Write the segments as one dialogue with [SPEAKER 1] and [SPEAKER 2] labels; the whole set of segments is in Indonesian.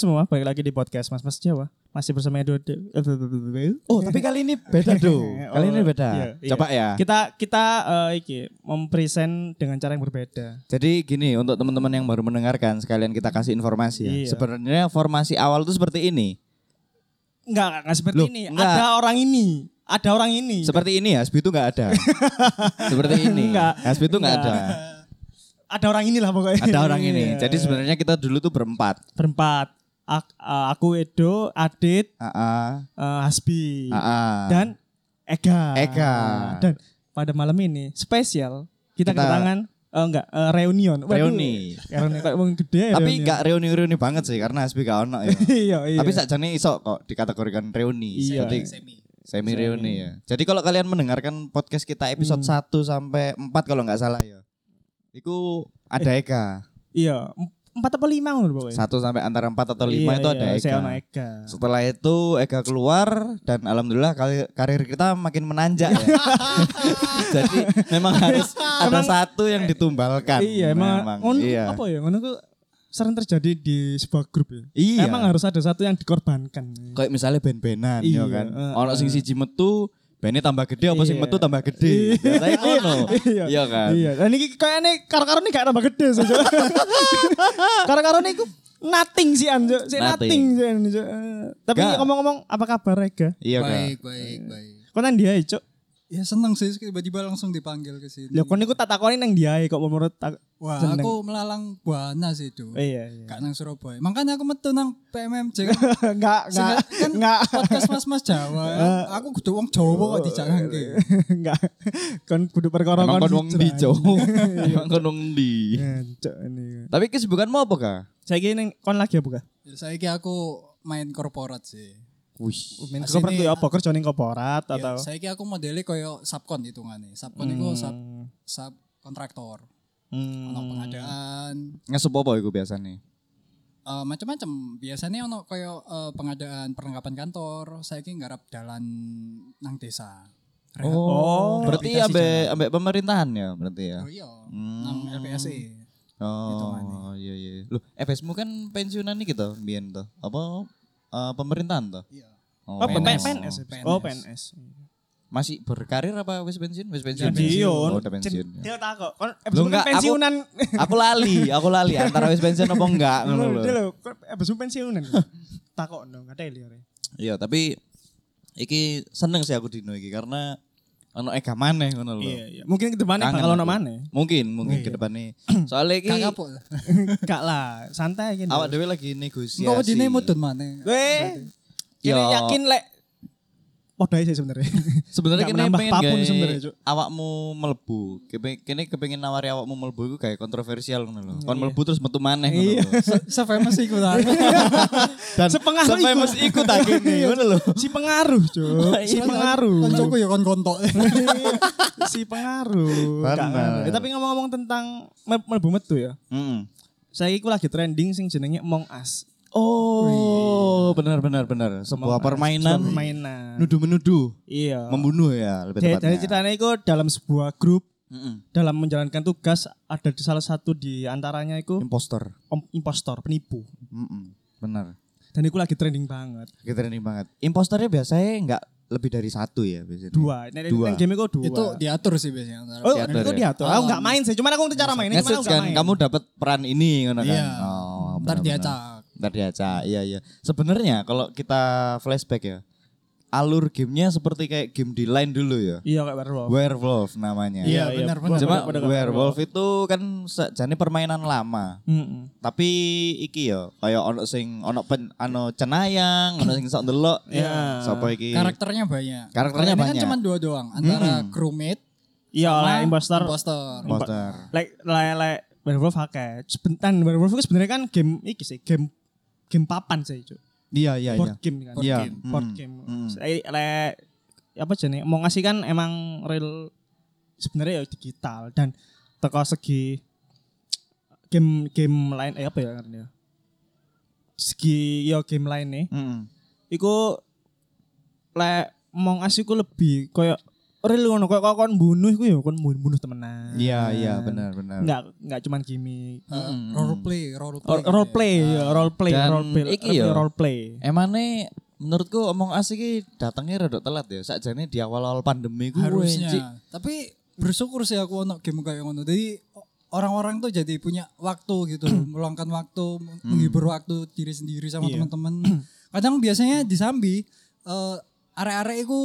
[SPEAKER 1] semua, balik lagi di podcast Mas Mas Jawa. Masih bersama Edo.
[SPEAKER 2] Oh, tapi kali ini beda Oh, do. Kali ini beda.
[SPEAKER 1] Iya,
[SPEAKER 2] Coba ya.
[SPEAKER 1] Kita kita eh, iki mempresent dengan cara yang berbeda.
[SPEAKER 2] Jadi gini untuk teman-teman yang baru mendengarkan sekalian kita kasih informasi ya.
[SPEAKER 1] Iya.
[SPEAKER 2] Sebenarnya formasi awal itu seperti ini.
[SPEAKER 1] Enggak, enggak, enggak seperti
[SPEAKER 2] Loh,
[SPEAKER 1] ini.
[SPEAKER 2] enggak.
[SPEAKER 1] Ada orang ini. Ada orang ini.
[SPEAKER 2] Seperti ini ya, Hasbi itu nggak ada. seperti ini.
[SPEAKER 1] Enggak.
[SPEAKER 2] Hasbi itu nggak ada.
[SPEAKER 1] Ada orang inilah pokoknya.
[SPEAKER 2] Ada orang ini.
[SPEAKER 1] Iya.
[SPEAKER 2] Jadi sebenarnya kita dulu tuh berempat.
[SPEAKER 1] berempat. Ak- eh, aku Edo, Adit,
[SPEAKER 2] Aa,
[SPEAKER 1] eh, Hasbi
[SPEAKER 2] aa.
[SPEAKER 1] dan Ega.
[SPEAKER 2] Ah, Ega.
[SPEAKER 1] Dan pada malam ini spesial kita,
[SPEAKER 2] Kita-
[SPEAKER 1] kedatangan eh, enggak eh, reunion.
[SPEAKER 2] Reuni.
[SPEAKER 1] Reuni kayak wong gede ya.
[SPEAKER 2] Tapi
[SPEAKER 1] reunion.
[SPEAKER 2] nggak reuni-reuni banget sih karena Hasbi gak ono ya.
[SPEAKER 1] iya, iya.
[SPEAKER 2] Tapi sakjane iso kok dikategorikan reuni.
[SPEAKER 1] Iya.
[SPEAKER 2] Jadi semi reuni ya. Jadi kalau kalian mendengarkan podcast kita episode
[SPEAKER 1] Hmm.
[SPEAKER 2] 1 sampai 4 kalau nggak salah ya. Itu ada Eka.
[SPEAKER 1] iya, em- empat apa lima ngono pokoknya. Iya,
[SPEAKER 2] Satu sampai antara empat atau lima itu ada Eka.
[SPEAKER 1] Saya ono Ega.
[SPEAKER 2] Setelah itu Ega keluar dan alhamdulillah kali- karir kita makin menanjak ya. Jadi memang harus ada
[SPEAKER 1] Emang-
[SPEAKER 2] satu yang ditumbalkan.
[SPEAKER 1] Iya, emang, ngono
[SPEAKER 2] iya.
[SPEAKER 1] apa ya? Ngono ku sering terjadi di sebuah grup ya.
[SPEAKER 2] Iya.
[SPEAKER 1] Emang harus ada satu yang dikorbankan.
[SPEAKER 2] kayak misalnya ben-benan
[SPEAKER 1] Iya,
[SPEAKER 2] ya kan.
[SPEAKER 1] eh,
[SPEAKER 2] Ono sing siji metu Bennya tambah gede apa sing
[SPEAKER 1] Iya.
[SPEAKER 2] metu tambah gede. Biasanya ngono.
[SPEAKER 1] Iya.
[SPEAKER 2] Iya kan.
[SPEAKER 1] Iya, dan ini kayaknya karo-karo ini gak tambah gede sih. Cuk. karo-karo ini ku nothing sih anjo, sih nothing
[SPEAKER 2] Nothing.
[SPEAKER 1] sih An, Cuk. Tapi
[SPEAKER 2] Gak.
[SPEAKER 1] ngomong-ngomong apa kabar Ega?
[SPEAKER 2] Iya kan.
[SPEAKER 3] baik, baik, baik.
[SPEAKER 1] Kau nang dia cok.
[SPEAKER 3] Ya seneng sih tiba-tiba langsung dipanggil ke sini.
[SPEAKER 1] Ya kau niku tak takoni nang dia kok menurut tak.
[SPEAKER 3] Wah,
[SPEAKER 1] seneng.
[SPEAKER 3] aku melalang buana sih itu.
[SPEAKER 1] Iya iya.
[SPEAKER 3] Gak nang Surabaya. Makanya aku metu nang PMMJ kan.
[SPEAKER 1] Enggak enggak
[SPEAKER 3] Seenggak- kan
[SPEAKER 1] enggak
[SPEAKER 3] podcast mas-mas Jawa.
[SPEAKER 1] Eh.
[SPEAKER 3] aku kudu wong Jawa
[SPEAKER 1] Oh,
[SPEAKER 3] kok dijangke.
[SPEAKER 1] iya, enggak. Kon kudu perkara
[SPEAKER 2] Emang kon
[SPEAKER 1] kon
[SPEAKER 2] wong ndi, Cok? Emang kon wong ndi?
[SPEAKER 1] Ya, Cuk, ini.
[SPEAKER 2] Tapi kesibukanmu apa, Kak?
[SPEAKER 1] Saya kira kon lagi apa kah?
[SPEAKER 3] Ya, Saiki aku main korporat sih.
[SPEAKER 2] Wih.
[SPEAKER 1] Main
[SPEAKER 3] Asli
[SPEAKER 1] korporat
[SPEAKER 3] ini-
[SPEAKER 1] itu apa? Kerja ning korporat
[SPEAKER 2] Iya,
[SPEAKER 3] Ya,
[SPEAKER 1] atau?
[SPEAKER 3] saiki aku modele koyo subkon hitungane. Subkon iku sub sub kontraktor.
[SPEAKER 1] Hmm.
[SPEAKER 3] Ono pengadaan,
[SPEAKER 2] Ngesup apa iku biasanya?
[SPEAKER 3] Eh, macam-macam biasanya ono koyo eh, pengadaan perlengkapan kantor saya ki nggarap dalan nang desa Rehat-
[SPEAKER 1] Oh.
[SPEAKER 2] berarti
[SPEAKER 3] Rehabilitasi
[SPEAKER 2] ambek ambek pemerintahan ya berarti ya.
[SPEAKER 3] oh iya nang LPSE
[SPEAKER 2] Oh, iya iya. Loh, FSMU kan pensiunan nih gitu, mbiyen to. Apa eh, pemerintahan to?
[SPEAKER 3] iya
[SPEAKER 1] Oh, PNS.
[SPEAKER 2] PNS.
[SPEAKER 1] Oh, PNS.
[SPEAKER 2] Masih berkarir apa wis pensiun? Wis pensiun.
[SPEAKER 1] Pensiun.
[SPEAKER 2] Oh, udah pensiun. ya.
[SPEAKER 1] Dia tak kok. Kon
[SPEAKER 2] Loh,
[SPEAKER 1] episode
[SPEAKER 2] enggak, aku-
[SPEAKER 1] pensiunan.
[SPEAKER 2] aku lali, aku lali antara wis pensiun apa enggak ngono lho.
[SPEAKER 1] Dia lho, kon episode pensiunan. Takok no, kata liar.
[SPEAKER 2] Iya, tapi iki seneng sih aku dino iki karena ono ega maneh ngono lho.
[SPEAKER 1] Iya, iya. Mungkin kedepannya
[SPEAKER 2] Kangen
[SPEAKER 1] bakal ono
[SPEAKER 2] aku.
[SPEAKER 1] maneh.
[SPEAKER 2] Mungkin, mungkin ke depannya. Iya. Soalnya iki
[SPEAKER 3] kagak po
[SPEAKER 1] Enggak lah, santai gini.
[SPEAKER 2] awak dhewe lagi negosiasi.
[SPEAKER 3] engko wedine mudun maneh
[SPEAKER 1] Weh.
[SPEAKER 2] Yo.
[SPEAKER 1] Ini yakin lek Podai sih sebenarnya.
[SPEAKER 2] Sebenarnya
[SPEAKER 1] Nggak
[SPEAKER 2] kene
[SPEAKER 1] menambah
[SPEAKER 2] pengen
[SPEAKER 1] apapun
[SPEAKER 2] gawe
[SPEAKER 1] sebenarnya, Cuk.
[SPEAKER 2] awakmu melebu. Kene- Kene kepengin nawari awakmu melebu iku kayak kontroversial ngono lho.
[SPEAKER 1] Iya.
[SPEAKER 2] Kon melebu terus metu maneh ngono lho.
[SPEAKER 3] se famous iku ta
[SPEAKER 2] Dan
[SPEAKER 1] Sepengah lu
[SPEAKER 2] sampai
[SPEAKER 1] ikut.
[SPEAKER 2] mesti ikut akhirnya ngono lho.
[SPEAKER 1] Si pengaruh, Cuk.
[SPEAKER 2] Iya.
[SPEAKER 1] Si pengaruh.
[SPEAKER 2] Kan
[SPEAKER 3] kancaku ya kon kontok
[SPEAKER 1] si pengaruh.
[SPEAKER 2] Benar.
[SPEAKER 1] Nggak- Eh, tapi ngomong-ngomong tentang mel- melebu metu ya.
[SPEAKER 2] Mm.
[SPEAKER 1] Saya iku lagi trending sing jenenge Among Us.
[SPEAKER 2] Oh, benar benar benar.
[SPEAKER 1] Among Us,
[SPEAKER 2] Sebuah permainan
[SPEAKER 1] Iya. sebuah permainan.
[SPEAKER 2] nudu menudu,
[SPEAKER 1] Iya.
[SPEAKER 2] membunuh ya lebih
[SPEAKER 1] Jadi, jadi
[SPEAKER 2] tepatnya.
[SPEAKER 1] ceritanya itu dalam sebuah grup
[SPEAKER 2] Mm-mm.
[SPEAKER 1] dalam menjalankan tugas ada di salah satu di antaranya itu
[SPEAKER 2] Imposter.
[SPEAKER 1] om- impostor, penipu.
[SPEAKER 2] Mm-mm. Benar.
[SPEAKER 1] Dan itu lagi trending banget.
[SPEAKER 2] Kita trending banget. Imposternya biasanya nggak lebih dari satu ya biasanya.
[SPEAKER 1] Dua. Nah,
[SPEAKER 2] Dua.
[SPEAKER 1] Dua. game itu dua.
[SPEAKER 3] itu diatur sih biasanya antara
[SPEAKER 1] Oh,
[SPEAKER 2] diatur
[SPEAKER 1] itu
[SPEAKER 2] ya?
[SPEAKER 1] diatur. Aku nggak main sih, cuman aku ngerti cara mainnya, cuman
[SPEAKER 2] Nge-search
[SPEAKER 1] aku
[SPEAKER 2] kan
[SPEAKER 1] nggak main.
[SPEAKER 2] kamu dapat peran ini ngono kan.
[SPEAKER 3] Iya.
[SPEAKER 2] Oh,
[SPEAKER 3] ntar
[SPEAKER 2] benar-benar.
[SPEAKER 3] diacak
[SPEAKER 2] Ntar diacak. Iya iya. Sebenarnya kalau kita flashback ya, alur gamenya seperti kayak game di line dulu ya.
[SPEAKER 1] Iya kayak werewolf.
[SPEAKER 2] Werewolf namanya.
[SPEAKER 3] Iya, benar, benar.
[SPEAKER 2] Cuma werewolf itu kan jadi permainan lama.
[SPEAKER 1] Heeh.
[SPEAKER 2] Tapi iki ya, kayak ono sing ono pen ano cenayang, ono sing sok ndelok.
[SPEAKER 1] Iya.
[SPEAKER 2] Sapa iki?
[SPEAKER 3] karakternya banyak
[SPEAKER 2] Karakternya
[SPEAKER 3] Ini
[SPEAKER 2] banyak.
[SPEAKER 3] kan cuma dua doang antara crewmate
[SPEAKER 1] Iya,
[SPEAKER 3] sama
[SPEAKER 1] oleh impostor.
[SPEAKER 3] impostor
[SPEAKER 2] Poster.
[SPEAKER 1] Like like like werewolf akeh. Sebentar werewolf itu sebenarnya kan game iki sih, game game papan sih, Cuk.
[SPEAKER 2] Iya iya iya.
[SPEAKER 1] board game kan. Board
[SPEAKER 2] Iya.
[SPEAKER 1] game. Board
[SPEAKER 2] Hmm.
[SPEAKER 1] game.
[SPEAKER 2] Hmm.
[SPEAKER 1] Saya- le- apa jenis, mau ngasih kan emang real sebenarnya ya digital dan teko segi game game lain eh apa ya karena segi ya game lain nih
[SPEAKER 2] Mm-mm.
[SPEAKER 1] iku le mau ngasih ku lebih koyo real ngono kok kok kon bunuh iku ya kon bunuh, bunuh temenan.
[SPEAKER 2] Iya, iya, benar, benar.
[SPEAKER 1] Enggak enggak cuman gimmick.
[SPEAKER 3] Eh,
[SPEAKER 2] Mm-mm.
[SPEAKER 3] role play, role play.
[SPEAKER 1] Or- Role play, ya,
[SPEAKER 3] Nah,
[SPEAKER 1] role play,
[SPEAKER 2] Dan
[SPEAKER 1] role play,
[SPEAKER 2] iki ya.
[SPEAKER 1] role play.
[SPEAKER 2] Emane menurutku omong asik iki datangnya rada telat ya. Sakjane di awal-awal pandemi ku weh,
[SPEAKER 3] harusnya.
[SPEAKER 2] Cik.
[SPEAKER 3] Tapi bersyukur sih aku ono game kayak ngono. Jadi o- orang-orang tuh jadi punya waktu gitu, meluangkan waktu, meng- menghibur waktu diri sendiri sama
[SPEAKER 1] Iya.
[SPEAKER 3] teman-teman. Kadang biasanya di Sambi eh arek-arek itu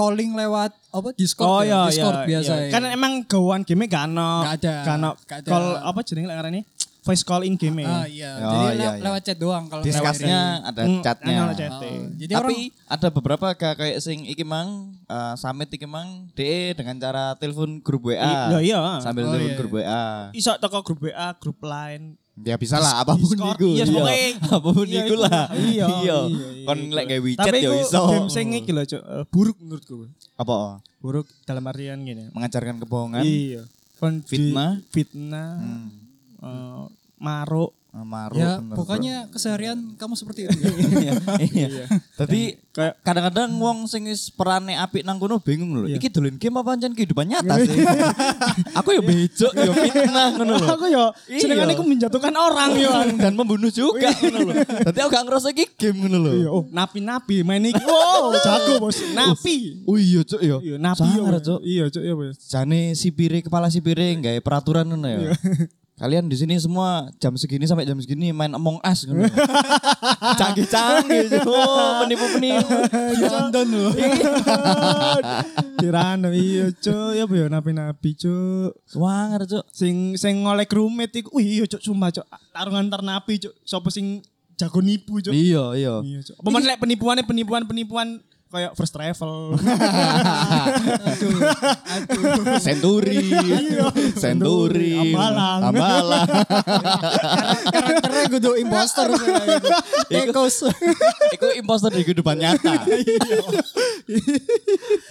[SPEAKER 3] calling lewat apa Discord
[SPEAKER 1] Oh
[SPEAKER 3] ya,
[SPEAKER 1] iya,
[SPEAKER 3] Discord
[SPEAKER 1] iya,
[SPEAKER 3] biasa.
[SPEAKER 1] iya.
[SPEAKER 3] ya.
[SPEAKER 1] Kan emang gawan game gak ono.
[SPEAKER 3] Gak ada,
[SPEAKER 1] Gak ono
[SPEAKER 3] gak ada.
[SPEAKER 1] call apa jenenge lek ngarani? Voice call in game.
[SPEAKER 3] Ah, iya.
[SPEAKER 2] Oh,
[SPEAKER 3] jadi
[SPEAKER 2] iya,
[SPEAKER 3] le-
[SPEAKER 2] iya.
[SPEAKER 3] lewat chat doang kalau
[SPEAKER 2] Discussnya ada
[SPEAKER 1] Mm,
[SPEAKER 2] chatnya.
[SPEAKER 1] ono chat.
[SPEAKER 3] Oh, jadi orang
[SPEAKER 2] Tapi ada beberapa ka- kayak sing iki mang eh, summit iki mang DE dengan cara telepon grup WA.
[SPEAKER 1] Iya, iya.
[SPEAKER 2] Sambil
[SPEAKER 3] Oh,
[SPEAKER 2] telepon
[SPEAKER 3] iya.
[SPEAKER 2] grup WA.
[SPEAKER 1] Iso toko grup WA, grup lain.
[SPEAKER 2] Ya bisa lah apapun
[SPEAKER 1] Discord,
[SPEAKER 2] iku.
[SPEAKER 1] iya, pokoknya.
[SPEAKER 2] apapun
[SPEAKER 1] Iya,
[SPEAKER 2] iku lah.
[SPEAKER 1] Iya.
[SPEAKER 2] Iya.
[SPEAKER 1] iya, iya,
[SPEAKER 2] Kon
[SPEAKER 1] iya.
[SPEAKER 2] lek gawe WeChat
[SPEAKER 1] Tapi
[SPEAKER 2] ya
[SPEAKER 1] iku
[SPEAKER 2] iso.
[SPEAKER 1] Game sing iki lho, Cuk, eh, buruk menurutku.
[SPEAKER 2] Apa? oh,
[SPEAKER 1] Buruk dalam artian gini.
[SPEAKER 2] Mengajarkan kebohongan,
[SPEAKER 1] Iya. Kon di-
[SPEAKER 2] kan? Fitnah.
[SPEAKER 1] Fitnah. eh, maruk.
[SPEAKER 2] maruk.
[SPEAKER 3] ya
[SPEAKER 2] Ah, Oh, bener.
[SPEAKER 3] pokoknya keseharian kamu seperti itu.
[SPEAKER 2] iya. iya. Tapi
[SPEAKER 1] Kayak
[SPEAKER 2] kadang-kadang wong sing wis perane apik nang kono bingung lho.
[SPEAKER 1] Iya.
[SPEAKER 2] Iki dolen game apa pancen kehidupan nyata sih? aku ya bejok ya fitnah
[SPEAKER 1] "Ah,
[SPEAKER 2] ngono lho.
[SPEAKER 1] aku yo
[SPEAKER 2] Iya.
[SPEAKER 1] senengane aku menjatuhkan orang yo.
[SPEAKER 2] dan membunuh juga ngono lho. Dadi aku gak ngerasa iki game ngono lho.
[SPEAKER 1] Iya, oh, napi-napi main iki. Oh, jago bos, napi.
[SPEAKER 2] Oh iya cuk ya.
[SPEAKER 1] Iya, napi yo.
[SPEAKER 2] Sangar,
[SPEAKER 1] Bos.
[SPEAKER 2] Cuk.
[SPEAKER 1] Iya, Cuk, iya, Bos.
[SPEAKER 2] Jane sipire kepala sipire gawe peraturan ngono ya. Kalian di sini semua jam segini sampai jam segini main Among Us ngono. ya? Canggih-canggih, oh, menipu-menipu. Jantan lho.
[SPEAKER 1] Dirano iya, Cuk, iya, Bos, yo napi-napi, Cuk.
[SPEAKER 2] Wangar, Cuk.
[SPEAKER 1] Sing sing ngolek rumit iku. Wih, iya, Cuk, sumpah, Cuk. Tarungan ternapi, Cuk. Sopo sing jago nipu, Cuk.
[SPEAKER 2] Iya, iya.
[SPEAKER 1] Iya, Cuk. Apa men lek penipuane penipuan-penipuan kayak first travel.
[SPEAKER 3] aduh, aduh.
[SPEAKER 2] Senturi, Senturi,
[SPEAKER 1] Iya. Ambalang.
[SPEAKER 2] Ambalang.
[SPEAKER 3] Karakternya gue tuh imposter.
[SPEAKER 1] ya, gitu.
[SPEAKER 3] saya.
[SPEAKER 2] Tikus. Iku imposter di kehidupan nyata.
[SPEAKER 1] Iya.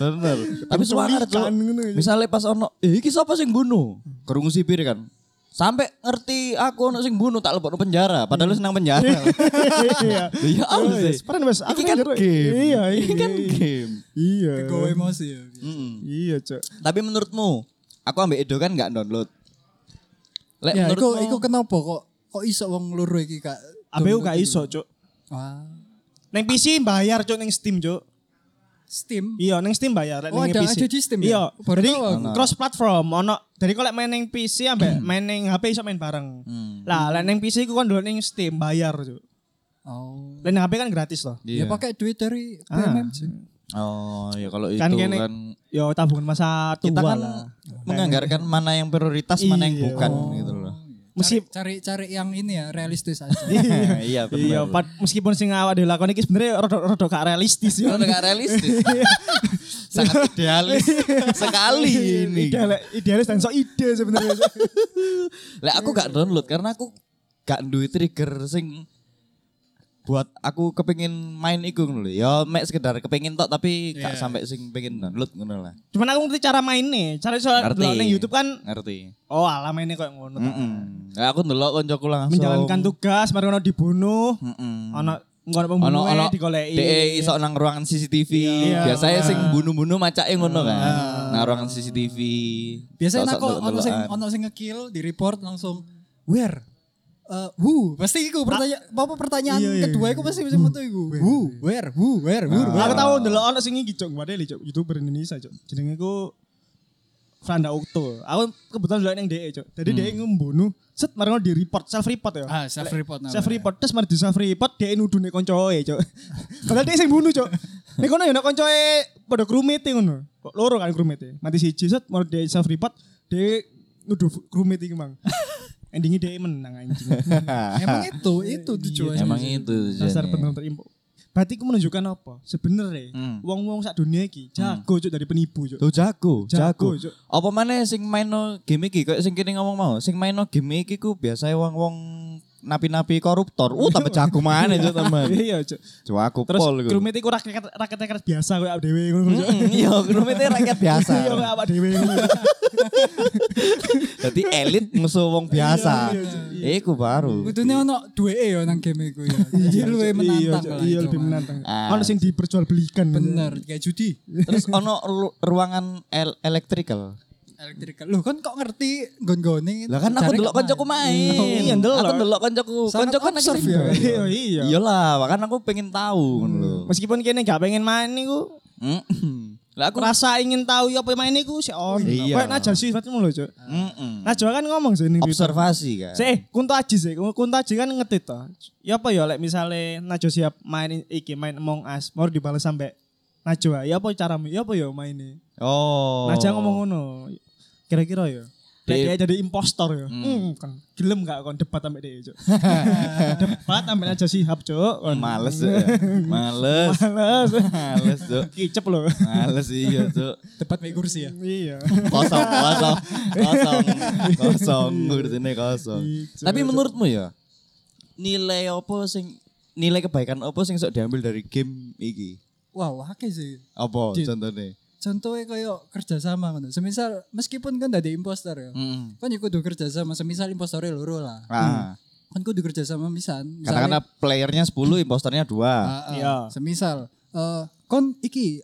[SPEAKER 2] Bener. Tapi suara
[SPEAKER 1] Penculikan
[SPEAKER 2] Cuk.
[SPEAKER 1] ngono ya.
[SPEAKER 2] Misalnya pas ono, eh iki sapa sing bunuh? Kerungu sipir kan. Sampai ngerti aku ono sing bunuh tak lebokno penjara, padahal senang penjara.
[SPEAKER 1] Hmm. Iya.
[SPEAKER 2] Iya, aku
[SPEAKER 1] Iya,
[SPEAKER 2] sih.
[SPEAKER 1] Bos. Pernah, Bos. Aku
[SPEAKER 2] Iki kan
[SPEAKER 1] ngerti.
[SPEAKER 2] game.
[SPEAKER 1] Iya,
[SPEAKER 2] Iki kan
[SPEAKER 1] iya.
[SPEAKER 2] game.
[SPEAKER 1] Iya.
[SPEAKER 3] Gue emosi. ya.
[SPEAKER 2] Mm-mm.
[SPEAKER 1] Iya, Cuk.
[SPEAKER 2] Tapi menurutmu, aku ambek Edo kan nggak download. Lek
[SPEAKER 3] Ya, iku,
[SPEAKER 2] menurutmu-
[SPEAKER 3] iku kenapa kok kok iso wong loro iki kak?
[SPEAKER 1] ABU gak iso, Cuk.
[SPEAKER 3] Wah,
[SPEAKER 1] Neng PC bayar cuk neng Steam cuk.
[SPEAKER 3] Steam.
[SPEAKER 1] Iya neng Steam bayar. lek
[SPEAKER 3] Oh,
[SPEAKER 1] neng
[SPEAKER 3] ada-
[SPEAKER 1] PC.
[SPEAKER 3] ada di Steam ya?
[SPEAKER 1] Iya.
[SPEAKER 3] Baru
[SPEAKER 1] Jadi
[SPEAKER 3] tahu aku.
[SPEAKER 1] cross platform ono. Jadi kalau main neng PC ambek main neng HP iso main bareng. Lah lek neng PC ku kan download neng Steam bayar cuk.
[SPEAKER 3] Oh.
[SPEAKER 1] Lek neng HP kan gratis loh.
[SPEAKER 2] Iya.
[SPEAKER 3] Ya pakai duit dari
[SPEAKER 1] Ah.
[SPEAKER 3] BMM sih.
[SPEAKER 2] Oh, ya kalau itu
[SPEAKER 1] Kan kene
[SPEAKER 2] kan
[SPEAKER 1] yo tabungan masa tua
[SPEAKER 2] kita kan
[SPEAKER 1] lah.
[SPEAKER 2] menganggarkan mana yang prioritas, mana yang
[SPEAKER 1] Iya.
[SPEAKER 2] bukan gitu loh.
[SPEAKER 1] Mesti-
[SPEAKER 3] cari cari yang ini ya realistis aja.
[SPEAKER 2] iya, benar.
[SPEAKER 1] Iya, pad- meskipun sing awak dilakoni iki sebenarnya rada-rada gak realistis yo.
[SPEAKER 2] Kalau nggak realistis.
[SPEAKER 1] Iya.
[SPEAKER 2] Sangat idealis sekali
[SPEAKER 1] Iya,
[SPEAKER 2] ini.
[SPEAKER 1] Idealis, idealis dan sok ide sebenarnya.
[SPEAKER 2] Lah aku gak download karena aku gak duwe trigger sing buat aku kepengin main iku ngono lho. Ya mek sekedar kepengin tok tapi gak
[SPEAKER 3] Iya.
[SPEAKER 2] sampai sing pengen download ngono lah.
[SPEAKER 1] Cuman aku ngerti cara mainnya. Cara soal
[SPEAKER 2] Ngerti. Hmm.
[SPEAKER 1] neng YouTube kan
[SPEAKER 2] Ngerti.
[SPEAKER 1] oh ala mainnya kayak ngono. ta.
[SPEAKER 2] Heeh. Lah aku ndelok koncoku langsung. Mm.
[SPEAKER 1] Menjalankan tugas, mari ono dibunuh.
[SPEAKER 2] Heeh.
[SPEAKER 1] ono ngono
[SPEAKER 2] Hmm. ono
[SPEAKER 1] pembunuhe
[SPEAKER 2] ono E
[SPEAKER 1] digoleki.
[SPEAKER 2] DE iso nang ruangan CCTV
[SPEAKER 1] Iya.
[SPEAKER 2] biasanya sing bunuh-bunuh macake ngono kan nang ruangan CCTV Sok-sok
[SPEAKER 3] Biasanya aku ono sing
[SPEAKER 2] delok-delokan.
[SPEAKER 3] ono sing ngekill di report langsung where Eh, who? Pasti iku pertanyaan apa pertanyaan
[SPEAKER 1] Iya, iya,
[SPEAKER 3] kedua iku pasti mesti metu iku. Who? Where? Who? Where? Who?
[SPEAKER 2] Ah.
[SPEAKER 1] Aku tahu ndelok ono sing iki cok, wadeli cok, YouTuber Indonesia cok. Jenenge ku Franda Ukto. Aku kebetulan ndelok ning DE cok. Jadi DE ngembunuh, set mari di report, self report ya.
[SPEAKER 3] Hmm. Ah, self report namanya.
[SPEAKER 1] Self report terus mari di self report DE nudune koncoe cok. Padahal DE sing bunuh cok. Nek kono ya nek koncoe padha krumite ngono. Kok loro kan krumite. Mati siji set mari DE self report DE nuduh krumite iki mang. Endingnya DE menang anjing.
[SPEAKER 3] Emang itu itu tujuannya.
[SPEAKER 2] emang itu
[SPEAKER 1] Iya, dasar
[SPEAKER 2] tujuannya.
[SPEAKER 1] benar terimpo. Berarti ku menunjukkan apa? Sebenarnya
[SPEAKER 2] Hmm.
[SPEAKER 1] wong-wong sak dunia iki jago cuk dari penipu cuk.
[SPEAKER 2] Tuh
[SPEAKER 1] Jago,
[SPEAKER 2] jago, jago.
[SPEAKER 1] Cuk.
[SPEAKER 2] Apa mana sing main no game iki? Kayak sing kini ngomong mau, sing main no game iki ku biasanya wong-wong napi-napi koruptor. Uh tambah jago mana itu teman.
[SPEAKER 1] Iya, Cuk.
[SPEAKER 2] Coba aku
[SPEAKER 1] Terus
[SPEAKER 2] pol iku.
[SPEAKER 1] krumit iku rakyat rakyat rakyat biasa koyo awake dhewe ngono Cuk.
[SPEAKER 2] Mm, Iya, krumitnya rakyat biasa.
[SPEAKER 1] Iya, koyo awake dhewe ngono.
[SPEAKER 2] Jadi elit musuh
[SPEAKER 1] Iya,
[SPEAKER 2] wong biasa. Iku baru.
[SPEAKER 3] Kudune ono duweke ya nang game iku ya. Jadi luwe menantang
[SPEAKER 1] Cuk.
[SPEAKER 3] lah.
[SPEAKER 1] Iya,
[SPEAKER 3] itu,
[SPEAKER 1] lebih
[SPEAKER 3] Mas.
[SPEAKER 1] menantang.
[SPEAKER 2] Ah.
[SPEAKER 1] Ono sing diperjualbelikan.
[SPEAKER 3] Bener, kayak judi.
[SPEAKER 2] Terus ono ru- ruangan el elektrikal.
[SPEAKER 3] Elektrikal. Loh, kan kok ngerti gon-gone?
[SPEAKER 2] Lah kan aku
[SPEAKER 3] Jare
[SPEAKER 2] delok
[SPEAKER 3] kemana?
[SPEAKER 2] kancaku main.
[SPEAKER 1] Iya, ndelok.
[SPEAKER 2] Aku delok kancaku.
[SPEAKER 3] Sangat
[SPEAKER 2] Kancaku kan
[SPEAKER 3] observe
[SPEAKER 2] aktif.
[SPEAKER 3] ya.
[SPEAKER 1] Iya, iya.
[SPEAKER 2] Iyalah, kan aku pengen tahu ngono lho.
[SPEAKER 1] Meskipun kene gak pengen main niku,
[SPEAKER 2] Mm. Lah aku
[SPEAKER 1] rasa ingin tahu ya apa main niku sih on.
[SPEAKER 2] Iya.
[SPEAKER 1] Kayak
[SPEAKER 2] Hmm.
[SPEAKER 1] Najwa sih fatmu lho, Cuk.
[SPEAKER 2] Mm-mm.
[SPEAKER 1] Najwa kan ngomong sih ini.
[SPEAKER 2] observasi kan.
[SPEAKER 1] Sih, eh, Kunto Aji sih. Kunto Aji kan ngetit toh. Ya apa ya lek misale Najwa siap main iki main Among Us, mau dibales sampe Najwa. Ya apa caramu? Ya apa ya maine?
[SPEAKER 2] Oh.
[SPEAKER 1] Najwa ngomong ngono. Kira-kira ya. Lek
[SPEAKER 2] Dia-
[SPEAKER 1] dia jadi impostor ya. Hmm, kan gelem gak kon debat sampe dia, Cuk. debat sampe Najwa Sihab, Cuk. Kon.
[SPEAKER 2] Males ya. Males.
[SPEAKER 1] Males.
[SPEAKER 2] Males, Cuk.
[SPEAKER 1] Kicep lho.
[SPEAKER 2] Males iya, Cuk.
[SPEAKER 3] Debat make kursi ya.
[SPEAKER 1] Iya.
[SPEAKER 2] Kosong, kosong. Kosong. Kosong, ini kosong.
[SPEAKER 1] Iya,
[SPEAKER 2] Tapi menurutmu ya, nilai apa sing nilai kebaikan apa sing sok diambil dari game iki?
[SPEAKER 3] Wah, akeh sih.
[SPEAKER 2] Apa
[SPEAKER 3] Di-
[SPEAKER 2] contohnya?
[SPEAKER 3] Contohnya kayak kerjasama ngono. Semisal meskipun kan dari imposter ya.
[SPEAKER 2] Mm.
[SPEAKER 3] Kan iku kudu kerjasama, semisal impostornya loro lah.
[SPEAKER 1] Hmm.
[SPEAKER 2] Ah,
[SPEAKER 3] Kan kudu kerjasama misan.
[SPEAKER 2] katakanlah
[SPEAKER 3] Misalnya-
[SPEAKER 2] playernya 10, imposternya 2.
[SPEAKER 3] Ah, ah.
[SPEAKER 1] Iya.
[SPEAKER 3] Semisal eh, kon iki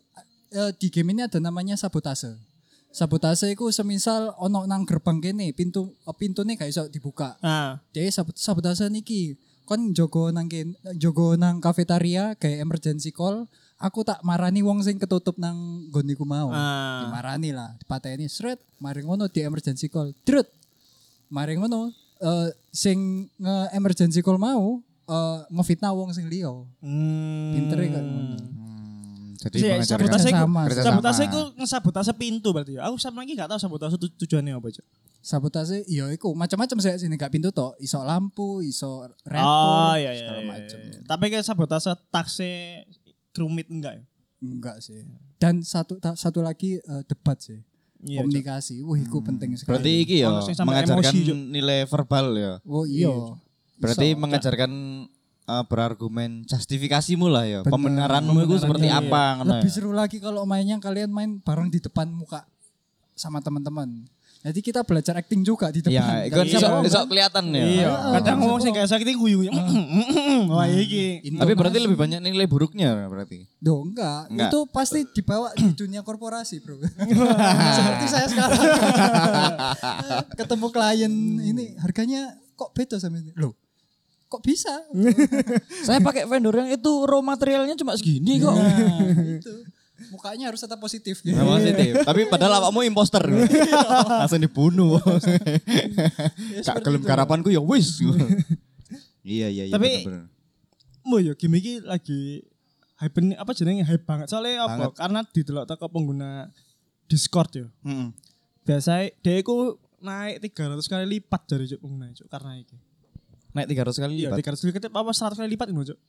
[SPEAKER 3] eh, di game ini ada namanya sabotase. Sabotase itu semisal ono nang gerbang kene, pintu eh, pintune gak iso dibuka.
[SPEAKER 1] Nah,
[SPEAKER 3] Jadi sabot sabotase niki kon jogo nang ken- jogo nang kafetaria kayak emergency call, aku tak marani wong sing ketutup nang nggon iku mau.
[SPEAKER 1] Ah.
[SPEAKER 3] Dimarani lah, dipateni sret, mari ngono di emergency call. Drut. Mari ngono eh, sing nge emergency call mau eh, ngefitnah wong sing liya.
[SPEAKER 1] hmm.
[SPEAKER 3] Pinter ya kan.
[SPEAKER 2] Hmm, jadi
[SPEAKER 1] Sih,
[SPEAKER 2] mengajarkan-
[SPEAKER 1] sabotase iku,
[SPEAKER 3] Kerjasama.
[SPEAKER 2] Kerjasama.
[SPEAKER 1] sabotase iku ngesabotase pintu berarti ya. Aku sama lagi gak tahu sabotase tu- tujuannya apa, Cuk.
[SPEAKER 3] Sabotase iya iku macam-macam saya sini gak pintu tok, iso lampu, iso reaktor,
[SPEAKER 1] Oh, iya iya.
[SPEAKER 3] segala
[SPEAKER 1] iya.
[SPEAKER 3] macam.
[SPEAKER 1] Tapi kayak sabotase taksi kerumit enggak ya?
[SPEAKER 3] Enggak sih. Dan satu ta- satu lagi eh, debat sih.
[SPEAKER 1] Iya. Cuk.
[SPEAKER 3] Komunikasi. Wah, iku penting sekali.
[SPEAKER 2] Berarti iki
[SPEAKER 1] Iya.
[SPEAKER 2] ya
[SPEAKER 1] Ono sing sampai
[SPEAKER 2] mengajarkan
[SPEAKER 1] emosi, Cuk.
[SPEAKER 2] nilai verbal ya.
[SPEAKER 3] Oh iya.
[SPEAKER 2] Berarti
[SPEAKER 3] Iso.
[SPEAKER 2] mengajarkan eh, berargumen justifikasimu lah ya.
[SPEAKER 3] Bener.
[SPEAKER 2] Pembenaranmu itu seperti
[SPEAKER 1] Pembenarannya, iya.
[SPEAKER 2] apa ngono
[SPEAKER 3] lebih
[SPEAKER 2] ya.
[SPEAKER 3] seru lagi kalau mainnya kalian main bareng di depan muka sama teman-teman. Jadi kita belajar acting juga di
[SPEAKER 2] Ya,
[SPEAKER 3] depan.
[SPEAKER 2] itu
[SPEAKER 3] Kalian
[SPEAKER 2] kan iso,
[SPEAKER 3] sama-
[SPEAKER 2] iso kelihatan ya.
[SPEAKER 1] Iya,
[SPEAKER 3] Ah,
[SPEAKER 1] kadang
[SPEAKER 3] ah,
[SPEAKER 1] ngomong
[SPEAKER 3] ah.
[SPEAKER 1] sing kayak sakit "Mm, guyu. Wah, iki.
[SPEAKER 3] Intonasi.
[SPEAKER 2] Tapi berarti lebih banyak nilai buruknya berarti.
[SPEAKER 3] Duh, enggak.
[SPEAKER 2] Enggak.
[SPEAKER 3] Itu pasti dibawa di dunia korporasi, Bro. Seperti saya sekarang. Ketemu klien ini harganya kok beda sama ini. Loh, kok bisa?
[SPEAKER 2] Saya pakai vendor yang itu raw materialnya cuma segini kok.
[SPEAKER 3] Nah, itu. Mukanya harus tetap positif. gitu.
[SPEAKER 2] Memang positif. Tapi padahal awakmu imposter. Langsung dibunuh. Cak gelem karapanku ya wis. Iya iya iya.
[SPEAKER 1] Tapi-
[SPEAKER 2] bener-bener.
[SPEAKER 1] Mau ya game iki lagi hype ini- apa jenenge hype banget. Soalnya apa?
[SPEAKER 2] Banget.
[SPEAKER 1] Karena didelok teko pengguna Discord ya.
[SPEAKER 2] Mm-mm.
[SPEAKER 1] Biasanya dia iku naik 300 kali lipat dari Cuk, pengguna Cuk karena iki.
[SPEAKER 2] naik 300 kali
[SPEAKER 1] Iya,
[SPEAKER 2] lipat.
[SPEAKER 1] 300 kali lipat apa 100 kali lipat ngono, Cuk.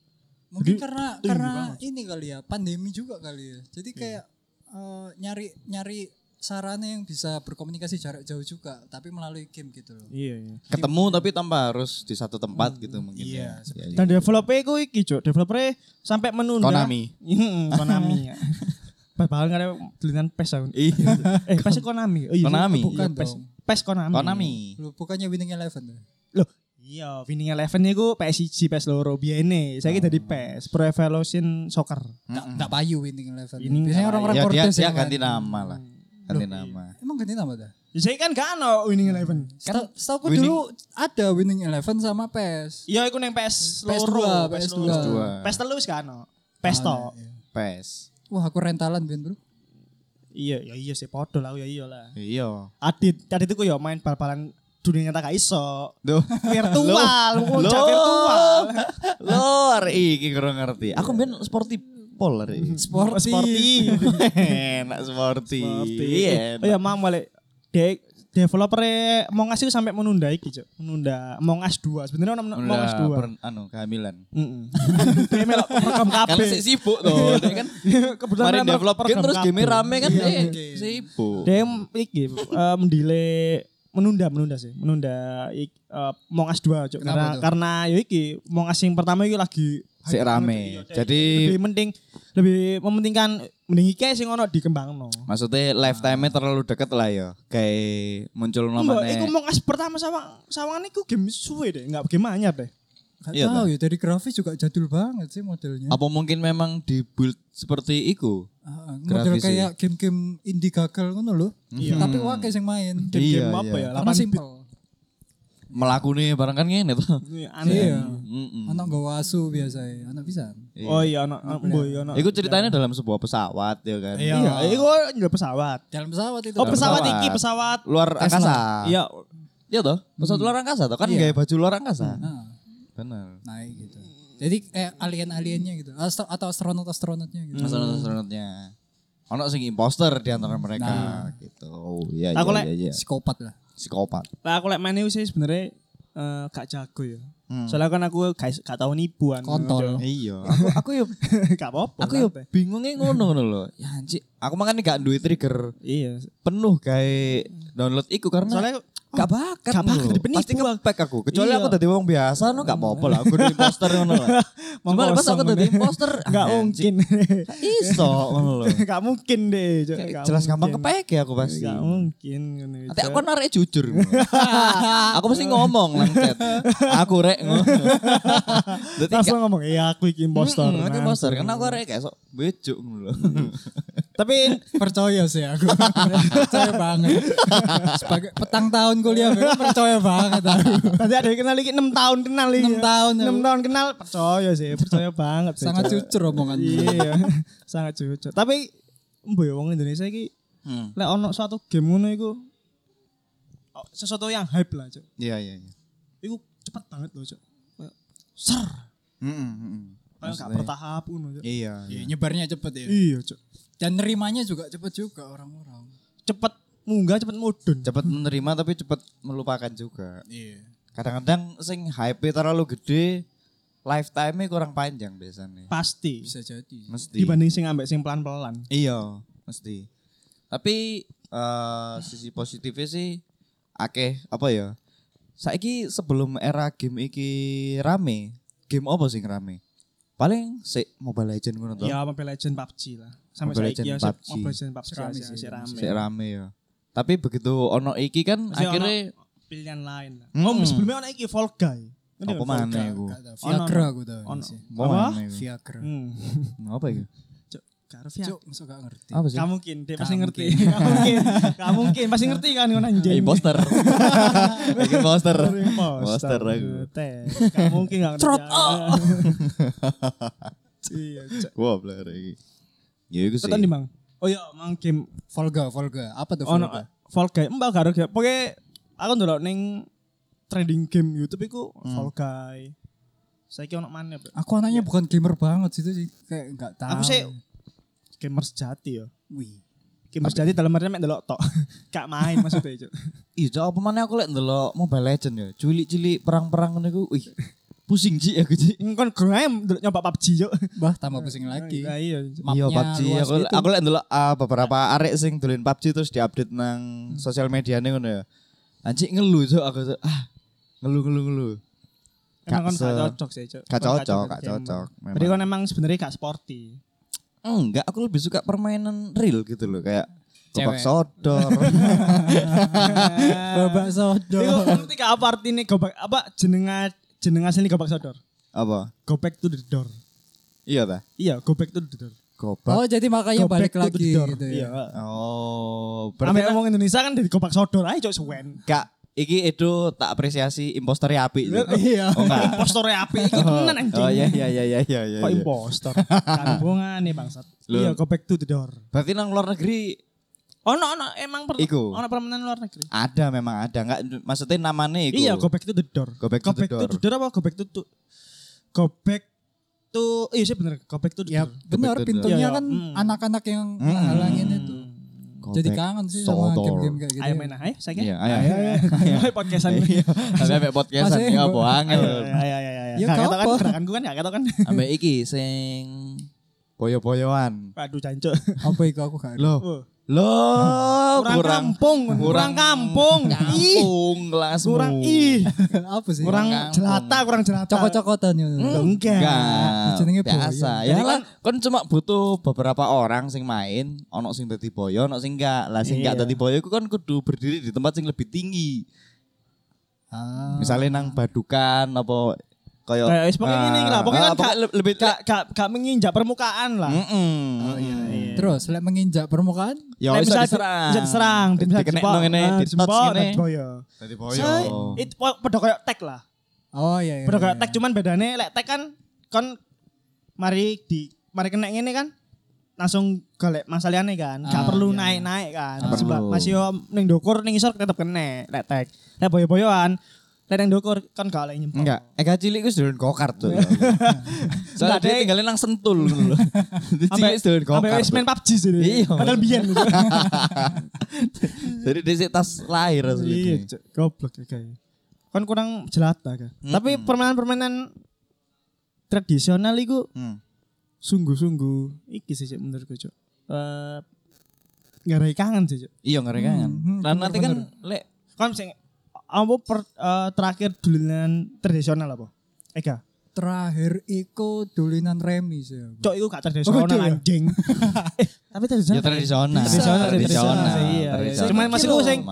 [SPEAKER 3] Mungkin
[SPEAKER 1] Jadi,
[SPEAKER 3] karena
[SPEAKER 2] iya,
[SPEAKER 1] tinggi
[SPEAKER 3] karena
[SPEAKER 1] banget.
[SPEAKER 3] ini kali ya, pandemi juga kali ya. Jadi kayak eh, nyari nyari sarana yang bisa berkomunikasi jarak jauh juga, tapi melalui game gitu loh.
[SPEAKER 1] Iya, iya.
[SPEAKER 2] Ketemu tapi tanpa harus di satu tempat gitu mungkin. ya.
[SPEAKER 3] Iya, seperti
[SPEAKER 1] Dan developer ku iki cok, developer e sampai menunda.
[SPEAKER 2] Konami.
[SPEAKER 1] Mm, Konami. Bahkan ada tulisan PES aku.
[SPEAKER 2] Iya.
[SPEAKER 1] Eh PES Konami. Oh, iya,
[SPEAKER 2] Konami.
[SPEAKER 1] Bukan
[SPEAKER 3] Bukan
[SPEAKER 1] PES.
[SPEAKER 3] dong.
[SPEAKER 1] PES Konami.
[SPEAKER 2] Konami.
[SPEAKER 3] Loh, bukannya Winning Eleven tuh.
[SPEAKER 1] Loh, iya, Winning Eleven niku PSIG, PES loro biene. Saiki
[SPEAKER 2] Oh.
[SPEAKER 1] dadi PES Pro Evolution Soccer.
[SPEAKER 3] Tak tak payu Winning Eleven.
[SPEAKER 1] Winning
[SPEAKER 3] Biasanya orang-orang
[SPEAKER 2] Ya dia,
[SPEAKER 3] Cortez
[SPEAKER 2] dia
[SPEAKER 3] yang main.
[SPEAKER 2] ganti nama lah. Ganti nama.
[SPEAKER 3] Emang ganti nama dah?
[SPEAKER 1] Ya, Saiki kan gak ono Winning Eleven.
[SPEAKER 3] Setahu setahu
[SPEAKER 2] Kan Winning-
[SPEAKER 3] dulu ada Winning Eleven sama PES.
[SPEAKER 1] Iya, iku neng PS
[SPEAKER 3] PS2,
[SPEAKER 1] loro,
[SPEAKER 3] PS2.
[SPEAKER 1] loro.
[SPEAKER 2] Dua.
[SPEAKER 1] PES telu wis gak ono. iya. PES tok.
[SPEAKER 2] Pes.
[SPEAKER 3] Wah, aku rentalan ben, Bro.
[SPEAKER 1] Iya, ya iya sih podo lah, ya iya lah.
[SPEAKER 2] Iya.
[SPEAKER 1] Adit, Adit iku yo main bal-balan dunia nyata gak iso.
[SPEAKER 2] Duh.
[SPEAKER 1] virtual,
[SPEAKER 2] Lho.
[SPEAKER 1] ngocak virtual.
[SPEAKER 2] Lor, iki kurang ngerti. Aku ben sporty pol lari.
[SPEAKER 1] Sporty. Sporty.
[SPEAKER 2] Enak sporty. Iya.
[SPEAKER 1] Oh ya, mam balik. De developer Among Us itu sampai menunda iki, Cuk. Menunda Among Us 2. Sebenarnya ono Among Us 2.
[SPEAKER 2] per- anu kehamilan.
[SPEAKER 1] Heeh. Dia melok rekam
[SPEAKER 2] Kan
[SPEAKER 1] kabeh.
[SPEAKER 2] sik sibuk tuh, dia kan.
[SPEAKER 1] Kebetulan
[SPEAKER 2] Kemarin
[SPEAKER 1] melok
[SPEAKER 2] develop game
[SPEAKER 1] rekam
[SPEAKER 2] terus game
[SPEAKER 1] kabeh.
[SPEAKER 2] rame kan,
[SPEAKER 3] Iya,
[SPEAKER 2] eh,
[SPEAKER 3] oke.
[SPEAKER 2] sibuk.
[SPEAKER 1] Dia m- iki eh, mendile menunda menunda sih menunda ik, eh, Mongas 2 cuk. karena
[SPEAKER 3] Kenapa tuh?
[SPEAKER 1] karena yo iki Mongas yang pertama iki lagi
[SPEAKER 2] Sik
[SPEAKER 1] hype
[SPEAKER 2] rame.
[SPEAKER 1] banget, iya.
[SPEAKER 2] Jadi-
[SPEAKER 1] lebih penting lebih mementingkan mending iki sing ono dikembangno.
[SPEAKER 2] Maksudnya lifetime-nya terlalu deket lah ya. Kayak muncul
[SPEAKER 1] Mbak,
[SPEAKER 2] namanya.
[SPEAKER 1] iku Mongas pertama sama sawangan iku game suwe deh, enggak game anyar deh.
[SPEAKER 3] Gak
[SPEAKER 2] Iya,
[SPEAKER 3] tahu ya dari grafis juga jadul banget sih modelnya.
[SPEAKER 2] Apa mungkin memang di build seperti iku?
[SPEAKER 3] Ah, model
[SPEAKER 2] grafisnya.
[SPEAKER 3] kayak game-game indie gagal ngono loh. Tapi wae sing main.
[SPEAKER 1] Game, game
[SPEAKER 2] Hmm. Iya,
[SPEAKER 1] apa
[SPEAKER 2] iya.
[SPEAKER 1] ya? 8
[SPEAKER 3] Karena
[SPEAKER 1] bit.
[SPEAKER 3] simple.
[SPEAKER 2] Melakuni barang kan ngene toh.
[SPEAKER 1] Iya, aneh.
[SPEAKER 3] Iya.
[SPEAKER 2] Mm-mm.
[SPEAKER 3] Anak gak wasu biasanya, ya, anak bisa.
[SPEAKER 2] Iya.
[SPEAKER 1] Oh iya, ono ono- boy ono.
[SPEAKER 2] Iku ceritanya dalam sebuah pesawat ya kan.
[SPEAKER 1] Iya, iku njol pesawat.
[SPEAKER 3] Dalam pesawat itu.
[SPEAKER 1] Oh, pesawat
[SPEAKER 2] pesawat.
[SPEAKER 1] iki pesawat.
[SPEAKER 2] Luar angkasa.
[SPEAKER 1] Iya, Hmm.
[SPEAKER 2] Iya toh? Pesawat luar angkasa toh kan
[SPEAKER 3] Iya.
[SPEAKER 2] gaya baju luar angkasa.
[SPEAKER 3] Nah,
[SPEAKER 2] Benar.
[SPEAKER 3] naik gitu. Jadi eh, alien-aliennya gitu Astro- atau astronot-astronotnya
[SPEAKER 1] Hmm.
[SPEAKER 3] gitu.
[SPEAKER 2] Astronot-astronotnya. Ono sing imposter di antara mereka gitu. Oh iya
[SPEAKER 1] Nah. Aku
[SPEAKER 2] iya
[SPEAKER 1] lek-
[SPEAKER 2] iya. iya.
[SPEAKER 3] Psikopat lah.
[SPEAKER 2] Psikopat.
[SPEAKER 1] lah aku lek main iku sih sebenarnya eh, gak jago ya.
[SPEAKER 2] Hmm.
[SPEAKER 1] Soalnya kan aku gak, gak tau nipuan.
[SPEAKER 3] Kontol.
[SPEAKER 2] Iya, aku aku yo
[SPEAKER 1] gak apa-apa.
[SPEAKER 2] aku yo
[SPEAKER 1] santai.
[SPEAKER 2] bingungnya ngono ngono loh. Ya anjir, aku makanya gak duwe trigger
[SPEAKER 1] Iya.
[SPEAKER 2] penuh kayak download iku karena
[SPEAKER 1] Soalnya
[SPEAKER 2] gak
[SPEAKER 3] kan
[SPEAKER 2] bakat
[SPEAKER 1] gak bakat,
[SPEAKER 2] lho.
[SPEAKER 1] dipenipu
[SPEAKER 2] Pasti kepek aku. Kecuali
[SPEAKER 1] Iya.
[SPEAKER 2] aku dadi wong biasa no gak apa-apa lah aku dadi imposter ngono lah.
[SPEAKER 1] Mau
[SPEAKER 2] Cuma lepas
[SPEAKER 1] kosong
[SPEAKER 2] aku Ah, iya, dadi
[SPEAKER 1] ngene.
[SPEAKER 2] imposter
[SPEAKER 1] gak mungkin.
[SPEAKER 2] Iso ngono loh.
[SPEAKER 1] Gak mungkin deh. Cok. Gak
[SPEAKER 2] Jelas
[SPEAKER 1] mungkin.
[SPEAKER 2] gampang kepek ya aku pasti.
[SPEAKER 1] Gak mungkin. ngono
[SPEAKER 2] Nanti
[SPEAKER 1] itu.
[SPEAKER 2] aku narik jujur. aku mesti ngomong lancet. Aku rek ngono. Dadi
[SPEAKER 1] Langsung ngomong, iya aku iki impostor.
[SPEAKER 2] Mm-mm, Hmm, aku kan?
[SPEAKER 1] Nah.
[SPEAKER 2] imposter karena aku rek kayak sok bejuk ngono loh.
[SPEAKER 1] Tapi
[SPEAKER 3] percaya sih aku percaya banget sebagai petang tahun kuliah aku percaya banget aku
[SPEAKER 1] Nanti ada yang kenal lagi 6 tahun kenal lagi.
[SPEAKER 3] 6 tahun, ya,
[SPEAKER 1] 6 tahun kenal percaya sih, percaya banget. sih,
[SPEAKER 3] sangat
[SPEAKER 1] Cok.
[SPEAKER 3] jujur omongan
[SPEAKER 1] Iya, sangat jujur. Tapi mboy wong Indonesia iki
[SPEAKER 2] Hmm.
[SPEAKER 1] lek ono suatu game ngono iku oh, sesuatu yang hype lah, Cok.
[SPEAKER 2] Iya iya iya.
[SPEAKER 1] Iku cepet banget loh, Cok. Kayak Ser,
[SPEAKER 2] Mm-mm, mm-mm.
[SPEAKER 1] kayak gak
[SPEAKER 2] Maksudnya-
[SPEAKER 1] bertahap ngono, Cok.
[SPEAKER 2] Iya.
[SPEAKER 3] Iya, nyebarnya cepet ya
[SPEAKER 1] Iya, Cok.
[SPEAKER 3] dan nerimanya juga cepet juga orang-orang
[SPEAKER 1] Cepet munggah, cepet mudun.
[SPEAKER 2] Cepat menerima tapi cepat melupakan juga.
[SPEAKER 3] iya
[SPEAKER 2] Kadang-kadang sing hype terlalu gede, lifetime-nya kurang panjang biasanya.
[SPEAKER 1] Pasti.
[SPEAKER 3] bisa jadi
[SPEAKER 2] Mesti.
[SPEAKER 1] Dibanding sing ambek sing pelan-pelan.
[SPEAKER 2] Iya, mesti. Tapi eh sisi positifnya sih akeh apa ya? Saiki sebelum era game iki rame, game apa sih yang rame? Paling si Mobile Legend ngono to.
[SPEAKER 1] Ya Mobile Legend PUBG lah. Sampai
[SPEAKER 2] Mobile
[SPEAKER 1] saiki ya
[SPEAKER 2] Legend,
[SPEAKER 1] sih,
[SPEAKER 2] PUBG.
[SPEAKER 1] Mobile Legend PUBG
[SPEAKER 3] Sik rame
[SPEAKER 1] sih,
[SPEAKER 3] sih,
[SPEAKER 1] sik rame.
[SPEAKER 2] Sik rame ya. Tapi begitu ono iki kan
[SPEAKER 1] Masih
[SPEAKER 2] akhirnya
[SPEAKER 1] pilihan lain lah.
[SPEAKER 2] Hmm.
[SPEAKER 1] Oh, sebelumnya ono iki Fall Guy. Ngerti kan,
[SPEAKER 2] apa
[SPEAKER 1] Fall
[SPEAKER 2] mana iku?
[SPEAKER 3] Gak tau, Viagra aku tau
[SPEAKER 1] Ono.
[SPEAKER 3] sih
[SPEAKER 2] Apa
[SPEAKER 1] Apa?
[SPEAKER 2] mana iku?
[SPEAKER 3] Viagra
[SPEAKER 1] Hmm.
[SPEAKER 2] Apa iku?
[SPEAKER 1] Cuk, karo
[SPEAKER 3] Cuk, masuk gak ngerti
[SPEAKER 2] Apa sih?
[SPEAKER 1] Gak mungkin, dia pasti
[SPEAKER 3] Gak
[SPEAKER 1] ngerti. Gak mungkin. Gak mungkin, pasti ngerti kan ngono anjing.
[SPEAKER 2] Imposter. Iki poster. Poster
[SPEAKER 1] Imposter.
[SPEAKER 2] aku.
[SPEAKER 1] Teh. Gak mungkin gak ngerti.
[SPEAKER 3] Trot,
[SPEAKER 1] Ah.
[SPEAKER 2] Oh.
[SPEAKER 1] Iya, Cuk.
[SPEAKER 2] Wah, blur iki. Ya iku sih.
[SPEAKER 1] Tekan di Mang. Oh iya, Mang game
[SPEAKER 3] Volga Volga apa tuh
[SPEAKER 1] ono
[SPEAKER 3] Volga
[SPEAKER 1] Fall Guy. Mbak gak ada. Pokoke aku ndelok ning trading game YouTube iku
[SPEAKER 2] Hmm.
[SPEAKER 1] Fall Guy. Saiki ono mana,
[SPEAKER 2] Ah.
[SPEAKER 1] Bro?
[SPEAKER 3] aku anaknya bukan gamer banget sih itu sih kayak gak tahu
[SPEAKER 1] Aku sih gamer sejati ya.
[SPEAKER 3] wih
[SPEAKER 1] Gamer sejati dalam artinya mek delok tok. Gak main maksudnya, Cuk.
[SPEAKER 2] Iya, cok apa mana aku lek ndelok Mobile Legend ya. Cilik-cilik perang-perang ngono iku, wih. Pusing sih aku sih.
[SPEAKER 1] Engkon groem delok nyoba PUBG, Cuk.
[SPEAKER 3] bah tambah pusing lagi
[SPEAKER 1] Nah, iya. Cuk.
[SPEAKER 3] Mapnya
[SPEAKER 2] Iya PUBG
[SPEAKER 3] luas
[SPEAKER 2] aku
[SPEAKER 3] gitu.
[SPEAKER 2] aku lek ndelok ah, beberapa arek sing dolen PUBG terus diupdate nang sosial mediane ngono ya. Anjir ngeluh cok aku cok. Ah, ngeluh ngeluh ngeluh.
[SPEAKER 1] Emang
[SPEAKER 2] Gak
[SPEAKER 1] kon gak
[SPEAKER 2] se-
[SPEAKER 1] cocok sih, Cuk.
[SPEAKER 2] Gak
[SPEAKER 1] Kon
[SPEAKER 2] cocok, gak
[SPEAKER 1] gamer.
[SPEAKER 2] cocok.
[SPEAKER 1] Berarti
[SPEAKER 2] Memang.
[SPEAKER 1] kon emang sebenarnya gak sporty.
[SPEAKER 2] Enggak, aku lebih suka permainan real gitu loh kayak
[SPEAKER 3] Cewek.
[SPEAKER 2] Gobak sodor.
[SPEAKER 3] babak
[SPEAKER 1] Iku
[SPEAKER 3] sodor
[SPEAKER 1] ngerti gak apa artine gobak apa jenenga jeneng asline gobak sodor.
[SPEAKER 2] Apa?
[SPEAKER 1] Go back to the door.
[SPEAKER 2] Iya ta?
[SPEAKER 1] Iya, go back to the door.
[SPEAKER 2] Gobak.
[SPEAKER 3] Oh jadi makanya
[SPEAKER 1] Go back
[SPEAKER 3] balik
[SPEAKER 1] to the
[SPEAKER 3] lagi
[SPEAKER 1] door.
[SPEAKER 3] gitu ya.
[SPEAKER 1] Iya.
[SPEAKER 2] Oh,
[SPEAKER 1] Ambil
[SPEAKER 2] berarti
[SPEAKER 1] ngomong Indonesia kan dari gobak sodor aja cok suwen.
[SPEAKER 2] Kak, iki itu tak apresiasi imposter api. Cok.
[SPEAKER 3] Iya.
[SPEAKER 2] Oh enggak.
[SPEAKER 1] Impostor apik iki tenan anjing.
[SPEAKER 2] Oh iya iya iya iya iya. iya.
[SPEAKER 1] Kok impostor? Kambungan nih bangsat.
[SPEAKER 2] Loh.
[SPEAKER 1] Iya, go back to the door.
[SPEAKER 2] Berarti nang luar negeri
[SPEAKER 1] Ono ono emang perlu
[SPEAKER 2] Iku.
[SPEAKER 1] ono permainan luar negeri.
[SPEAKER 2] ada memang ada enggak maksudnya namanya iku.
[SPEAKER 1] Iya, go back to the door.
[SPEAKER 2] Go back to the door.
[SPEAKER 1] apa go back to to- Go back to iya sih bener, go back to the
[SPEAKER 3] Ya
[SPEAKER 1] door.
[SPEAKER 3] benar
[SPEAKER 2] Betul,
[SPEAKER 3] pintunya
[SPEAKER 1] Iya,
[SPEAKER 3] kan
[SPEAKER 1] iya. Hmm.
[SPEAKER 3] anak-anak yang menghalangin itu.
[SPEAKER 2] Go
[SPEAKER 3] Jadi
[SPEAKER 2] back
[SPEAKER 3] kangen sih sama
[SPEAKER 2] sodor.
[SPEAKER 3] game-game kayak gitu.
[SPEAKER 1] Ayo main ayo saya
[SPEAKER 2] Iya,
[SPEAKER 1] kira.
[SPEAKER 2] ayo.
[SPEAKER 1] Ayo podcastan. Ayo
[SPEAKER 2] Tapi ambek podcastan
[SPEAKER 3] Masih,
[SPEAKER 2] ya apa angel.
[SPEAKER 1] ayo ayo ayo.
[SPEAKER 3] Ya,
[SPEAKER 1] Gak
[SPEAKER 3] gak
[SPEAKER 1] ketok kan
[SPEAKER 3] apa.
[SPEAKER 1] gerakanku kan gak ketok kan.
[SPEAKER 2] Ambek iki sing boyo-boyoan.
[SPEAKER 1] Aduh jancuk.
[SPEAKER 3] Apa itu aku gak
[SPEAKER 2] Loh,
[SPEAKER 1] Oh,
[SPEAKER 2] Loh,
[SPEAKER 1] kurang,
[SPEAKER 2] Oh, kurang
[SPEAKER 1] kampung, kurang
[SPEAKER 2] kurang
[SPEAKER 1] kampung. Ih,
[SPEAKER 2] kampung kelasmu.
[SPEAKER 1] kurang ih,
[SPEAKER 3] apa sih?
[SPEAKER 1] kurang
[SPEAKER 2] kampung.
[SPEAKER 1] jelata, kurang jelata.
[SPEAKER 3] cokot-cokotan ya.
[SPEAKER 2] Mm.
[SPEAKER 1] Enggak. gitu.
[SPEAKER 2] Enggak.
[SPEAKER 3] Jenenge
[SPEAKER 2] biasa.
[SPEAKER 3] boyong.
[SPEAKER 2] Ya
[SPEAKER 1] Jadi
[SPEAKER 2] kan kon cuma butuh beberapa orang sing main, ono sing dadi boyo, ono sing enggak. Lah sing enggak
[SPEAKER 1] Iya.
[SPEAKER 2] dadi boyo iku kon kudu berdiri di tempat sing lebih tinggi.
[SPEAKER 3] Ah.
[SPEAKER 2] Misalnya nang badukan apa kayak
[SPEAKER 1] Kayak wis pokoknya
[SPEAKER 2] Ah,
[SPEAKER 1] ngene lah, pokoknya
[SPEAKER 2] ah,
[SPEAKER 1] kan gak-
[SPEAKER 2] le- lebih
[SPEAKER 1] Gak gak gak menginjak permukaan lah.
[SPEAKER 2] Heeh.
[SPEAKER 1] Oh, iya.
[SPEAKER 3] iya, Terus lek menginjak permukaan
[SPEAKER 2] Ya
[SPEAKER 1] Nek
[SPEAKER 2] wis
[SPEAKER 1] bisa
[SPEAKER 2] diserang.
[SPEAKER 1] bisa diserang,
[SPEAKER 2] Di-
[SPEAKER 1] bisa
[SPEAKER 2] dikenekno
[SPEAKER 1] dijebak.
[SPEAKER 2] ngene,
[SPEAKER 1] Ah,
[SPEAKER 2] di touch
[SPEAKER 1] dijebak,
[SPEAKER 2] ngene.
[SPEAKER 1] touch boyo.
[SPEAKER 2] Dadi
[SPEAKER 1] Saya itu pada kayak tag lah.
[SPEAKER 3] Oh iya. iya,
[SPEAKER 1] Pada
[SPEAKER 3] iya.
[SPEAKER 1] kayak tag cuman bedane lek tag kan kon mari di mari kena ngene kan langsung golek masalahnya kan gak
[SPEAKER 3] Ah,
[SPEAKER 1] perlu
[SPEAKER 3] iya, iya.
[SPEAKER 1] naik-naik kan
[SPEAKER 2] Gak
[SPEAKER 1] Sebab
[SPEAKER 2] perlu.
[SPEAKER 1] masih yo ning dokur ning isor tetep kena lek tag lek boyo-boyoan lek ning dokur kan gak oleh nyempet
[SPEAKER 2] Enggak, Eka cilik wis dolen gokart tuh. Soalnya
[SPEAKER 1] Iya. Enggak,
[SPEAKER 2] dia
[SPEAKER 1] Dek.
[SPEAKER 2] tinggalin nang sentul ngono lho. Dia Cilik wis dolen
[SPEAKER 1] Sampai
[SPEAKER 2] gokart.
[SPEAKER 1] wis main PUBG sih.
[SPEAKER 2] Iya.
[SPEAKER 1] Padahal biyen. gitu.
[SPEAKER 2] Jadi dia sik tas lahir
[SPEAKER 1] Iya,
[SPEAKER 2] asli.
[SPEAKER 1] Cuk. goblok ya kayak. Kan kurang jelata kan.
[SPEAKER 2] Mm-mm.
[SPEAKER 1] Tapi permainan-permainan tradisional itu
[SPEAKER 2] Hmm.
[SPEAKER 1] sungguh-sungguh iki sih Cuk, menurutku Cuk. Eh nggak ada kangen sih Cuk.
[SPEAKER 2] Iya ngerengan.
[SPEAKER 3] Hmm,
[SPEAKER 2] Lah nanti kan lek
[SPEAKER 1] Kan sing apa per- eh, terakhir dulunan tradisional apa? Ega.
[SPEAKER 3] terakhir iku dolinan remi sih.
[SPEAKER 1] Cok itu gak tradisional
[SPEAKER 3] Oh, iya.
[SPEAKER 1] anjing. eh, tapi tradisional.
[SPEAKER 2] ya tradisional.
[SPEAKER 1] Tradisional, tradisional.
[SPEAKER 2] tradisional.
[SPEAKER 1] Iya, iya.
[SPEAKER 2] Tradisional.
[SPEAKER 1] Cuman maksudku
[SPEAKER 2] Sama.
[SPEAKER 1] sing-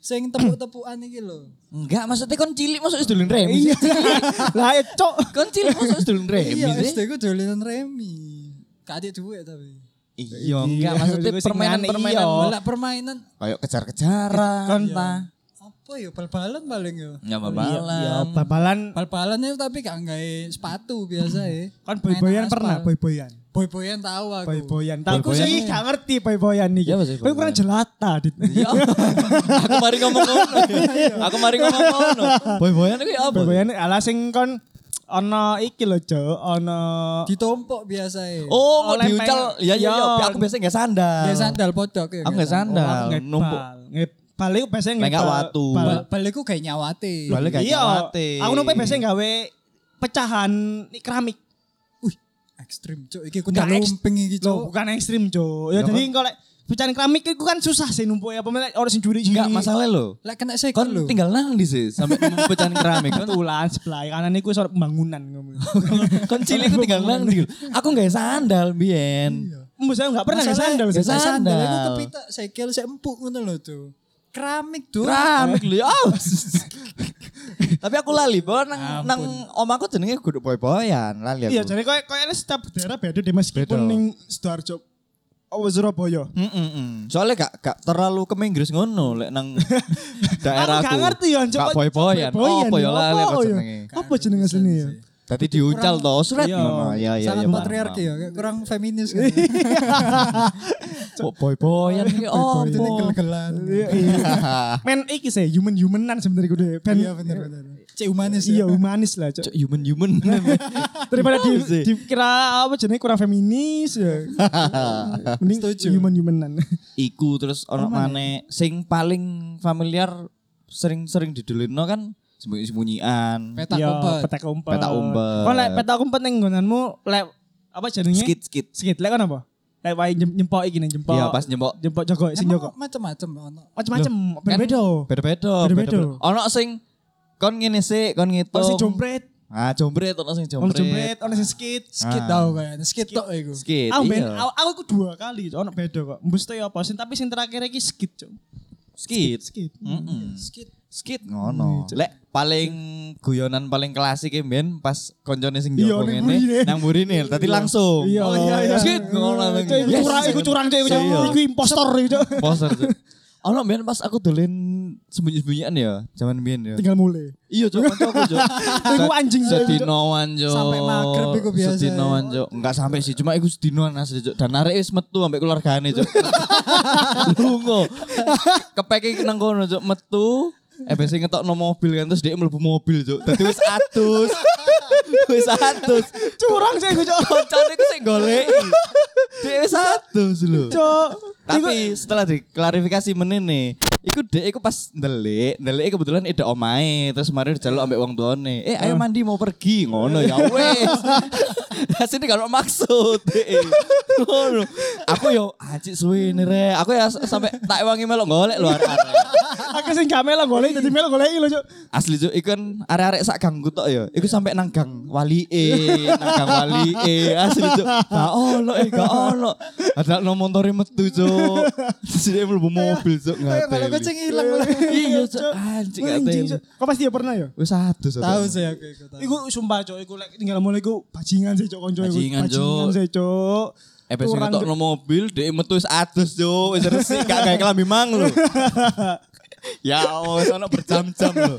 [SPEAKER 3] Sing tepuk-tepukan iki lho.
[SPEAKER 2] enggak maksudnya kon cilik masuk wis dolen remi. sih?
[SPEAKER 1] Iya. Lah ya cok.
[SPEAKER 2] Kon cilik masuk wis dolen remi.
[SPEAKER 3] Iya,
[SPEAKER 2] sih?
[SPEAKER 3] SD ku dolinan remi. Kadek duit tapi.
[SPEAKER 2] Iya,
[SPEAKER 1] Iya,
[SPEAKER 2] enggak maksudnya
[SPEAKER 1] maksudku sing
[SPEAKER 2] permainan-permainan
[SPEAKER 1] nyanyi, iya.
[SPEAKER 3] Lah permainan
[SPEAKER 2] kayak kejar-kejaran.
[SPEAKER 1] Kon-
[SPEAKER 2] entah.
[SPEAKER 3] apa ya bal-balan paling ya.
[SPEAKER 2] Enggak
[SPEAKER 1] Iya, iya,
[SPEAKER 2] babalan.
[SPEAKER 1] babalan
[SPEAKER 3] Bal-balan itu tapi gak nggae sepatu biasa ya.
[SPEAKER 1] kan
[SPEAKER 3] Mainan
[SPEAKER 1] boy-boyan
[SPEAKER 3] aspal.
[SPEAKER 1] pernah boy-boyan.
[SPEAKER 3] Boy-boyan tahu aku.
[SPEAKER 1] Boy-boyan. Tapi aku
[SPEAKER 2] Boy-boyan.
[SPEAKER 1] sih gak ngerti boy-boyan nih.
[SPEAKER 2] Iya, apa sih
[SPEAKER 1] Tapi kurang jelata. Dit.
[SPEAKER 2] Iya. aku mari ngomong ngono. Aku mari ngomong ngono. Boy-boyan iku ya apa?
[SPEAKER 1] Boy-boyan ala sing kon ono iki lho Jo, ono
[SPEAKER 3] Ditompok biasa ya.
[SPEAKER 2] Oh, kok
[SPEAKER 1] Oleh pengen-
[SPEAKER 2] diuncal. Ya ya ya,
[SPEAKER 1] Iya. Oh,
[SPEAKER 2] aku biasanya enggak sandal.
[SPEAKER 3] Gak sandal podok ya.
[SPEAKER 1] Ah,
[SPEAKER 2] Aku enggak sandal, numpuk.
[SPEAKER 1] Bal itu biasanya
[SPEAKER 2] Lah, gak
[SPEAKER 1] bal-
[SPEAKER 2] watu.
[SPEAKER 1] bal-
[SPEAKER 3] Bal- Bal iku kayak nyawate.
[SPEAKER 2] Balik gak
[SPEAKER 1] Iya.
[SPEAKER 2] nyawate.
[SPEAKER 1] Aku numpuk biasanya gawe pecahan ini keramik.
[SPEAKER 3] Wih, ekstrim cok. Iki kudu
[SPEAKER 1] Nggak ekst-
[SPEAKER 3] lumping iki
[SPEAKER 1] Loh,
[SPEAKER 3] cok.
[SPEAKER 1] bukan ekstrim Jo. Ya jadi engko lek pecahan keramik itu kan susah sih numpuk ya pemain orang sing juri
[SPEAKER 2] enggak masalah lo.
[SPEAKER 3] Lek kena saya
[SPEAKER 1] Iya,
[SPEAKER 2] Kon
[SPEAKER 3] lho.
[SPEAKER 2] Kan tinggal nang di sih sampai nemu pecahan keramik kon.
[SPEAKER 1] Tulan sebelah kanan iku sorot pembangunan ngomong.
[SPEAKER 2] Kon cilik ku tinggal nang
[SPEAKER 1] Iya.
[SPEAKER 2] di. Aku enggak sandal biyen.
[SPEAKER 1] Mbok saya enggak pernah nggak
[SPEAKER 3] Masalah- ya,
[SPEAKER 1] sandal sih.
[SPEAKER 2] Nggak
[SPEAKER 3] Iya. Sandal.
[SPEAKER 2] Sandal.
[SPEAKER 3] Iku kepita sikil sik empuk ngono lho tuh. Keramik tuh.
[SPEAKER 2] Keramik lho.
[SPEAKER 1] Iya.
[SPEAKER 2] ya. Tapi aku lali bahwa nang
[SPEAKER 3] Ampun.
[SPEAKER 2] nang omaku jenenge guduk boy-boyan lali
[SPEAKER 1] Iya,
[SPEAKER 2] aku.
[SPEAKER 1] jadi koyo koyo setiap daerah beda deh meskipun
[SPEAKER 2] Beda.
[SPEAKER 1] ning Sidoarjo. Oh, Surabaya.
[SPEAKER 2] Mm, mm, mm. Soalnya gak, gak terlalu ke Inggris ngono lek nang daerahku.
[SPEAKER 1] Aku gak ngerti ya, coba-
[SPEAKER 2] Gak boy-boyan.
[SPEAKER 1] boy-boyan,
[SPEAKER 2] Apa ya
[SPEAKER 1] apa
[SPEAKER 2] lali aku
[SPEAKER 1] ya?
[SPEAKER 2] jenenge.
[SPEAKER 1] Apa jeneng asline ya?
[SPEAKER 2] Tadi diuncal toh surat
[SPEAKER 1] Iya.
[SPEAKER 2] ngono. Ya ya ya.
[SPEAKER 3] Sangat patriarki ya, kayak kurang feminis kan.
[SPEAKER 2] Boy-boyan iki oh.
[SPEAKER 3] Gitu, Jadi gel-gelan.
[SPEAKER 1] Iya, Men iki sih human-humanan sebenarnya gue deh. Ben-
[SPEAKER 3] Iya benar benar. Cek humanis
[SPEAKER 1] Iya,
[SPEAKER 3] ya.
[SPEAKER 1] humanis lah, Cok.
[SPEAKER 2] Human-human.
[SPEAKER 1] Daripada di,
[SPEAKER 2] sih.
[SPEAKER 1] dikira apa jenenge kurang feminis ya. Mending
[SPEAKER 3] Setuju.
[SPEAKER 1] human-humanan.
[SPEAKER 2] Iku terus ono maneh
[SPEAKER 1] ya.
[SPEAKER 2] sing paling familiar sering-sering didelino kan sembunyi-sembunyian.
[SPEAKER 3] Petak
[SPEAKER 1] Iya,
[SPEAKER 3] umpet.
[SPEAKER 1] Petak umpet.
[SPEAKER 2] Petak umpet.
[SPEAKER 1] Kon lek petak umpet ning nggonanmu lek apa jenenge?
[SPEAKER 2] Skit-skit.
[SPEAKER 1] Skit lek kon apa? Lek wae jem- nyempok iki nih, jempok.
[SPEAKER 2] Iya, pas nyempok.
[SPEAKER 1] Jempok jogo sing
[SPEAKER 3] Emang
[SPEAKER 1] jogo.
[SPEAKER 3] macam-macam ono.
[SPEAKER 1] Macem-macem,
[SPEAKER 2] kan?
[SPEAKER 1] oh. beda-beda.
[SPEAKER 2] Beda-beda,
[SPEAKER 1] Beda-beda.
[SPEAKER 2] beda-beda. Ono sing kon ngene sik, kon
[SPEAKER 1] Ono sing
[SPEAKER 2] ngitung.
[SPEAKER 1] jompret,
[SPEAKER 2] Ah, jombret ono sing
[SPEAKER 1] ono
[SPEAKER 2] jombret.
[SPEAKER 1] jompret, ono sing skit.
[SPEAKER 3] Skit
[SPEAKER 2] Ah.
[SPEAKER 3] tau kayaknya, skit tok iku.
[SPEAKER 2] Skit.
[SPEAKER 1] Aku ben,
[SPEAKER 2] iya.
[SPEAKER 1] aku, aku iku dua kali, ono beda kok. Mesti apa sih, tapi sing terakhir iki skit, Cuk.
[SPEAKER 2] Skit.
[SPEAKER 1] Skit.
[SPEAKER 2] Mm-mm.
[SPEAKER 3] Skit.
[SPEAKER 2] Skit ngono. Lek paling guyonan paling klasik e mben pas koncone sing
[SPEAKER 1] Iya,
[SPEAKER 2] jopo
[SPEAKER 1] ning
[SPEAKER 2] ngene
[SPEAKER 1] burine.
[SPEAKER 2] nang burine tadi langsung. Oh,
[SPEAKER 1] Iya, iya, iya.
[SPEAKER 2] Skit ngono.
[SPEAKER 1] Cuk, iku curang, iku curang, Cuk, iku curang.
[SPEAKER 2] Iya.
[SPEAKER 1] Iku impostor iku, Cuk.
[SPEAKER 2] Poster. Cuk. Ono mbiyen pas aku dolen sembunyi-sembunyian ya, zaman mbiyen ya.
[SPEAKER 1] Tinggal mulai.
[SPEAKER 2] Iya, Cuk, kancaku, Cuk.
[SPEAKER 1] Iku anjing Cuk.
[SPEAKER 2] Sedinoan, Cuk.
[SPEAKER 3] Sampai maghrib iku biasa.
[SPEAKER 2] Sedinoan, Cuk. Enggak sampai sih, cuma iku sedinoan asli, Cuk. Dan arek wis metu ambek keluargane, Cuk. Lungo. Kepeke nang kono, Cuk, metu. Eh biasanya ngetok mobil kan terus dia mlebu mobil, Cuk. Dadi wis atus. wis atus.
[SPEAKER 1] Curang sih iku, Cuk.
[SPEAKER 2] Koncone iku sing goleki. Dia wis atus lho.
[SPEAKER 1] Cuk. Iku-
[SPEAKER 2] Tapi setelah diklarifikasi menene, Iku dek, iku pas ndelik, ndelik kebetulan ide omae, terus mari dijaluk ambek wong tuane. Eh ayo mandi mau pergi ngono ya wes. Hasil kalau maksud dek. Ngono. Aku yo aji suwe ini, re. Aku ya s- sampai tak ewangi melok golek lho arek-arek.
[SPEAKER 1] Aku sing gak melok golek dadi melok golek lho, Cuk.
[SPEAKER 2] Asli Cuk, iku kan arek-arek sak gang kutok ya. Iku sampe nang gang Walie, nang gang Walie. Asli Cuk. Gak ono, eh gak ono. Ada no motore metu Cuk. Sini mlebu mobil Cuk
[SPEAKER 3] Kayak
[SPEAKER 2] ngateli.
[SPEAKER 3] kalau kucing hilang.
[SPEAKER 2] Iya Cuk, anjing
[SPEAKER 1] Anjing,
[SPEAKER 2] ngateli.
[SPEAKER 1] Cuk. Kok pasti ya pernah ya?
[SPEAKER 2] Wis satu satu.
[SPEAKER 3] Tahu sih aku ikut. tahu.
[SPEAKER 1] Iku sumpah cok, iku lek tinggal mulai iku bajingan sih cok konco iku.
[SPEAKER 2] Bajingan, Cuk.
[SPEAKER 1] Bajingan sih cok.
[SPEAKER 2] Eh besok
[SPEAKER 1] Kurang,
[SPEAKER 2] ngetok no mobil, dia metu wis adus Cuk. Wis resik gak kayak kelambi mang lho. Ya wis ono berjam-jam lho.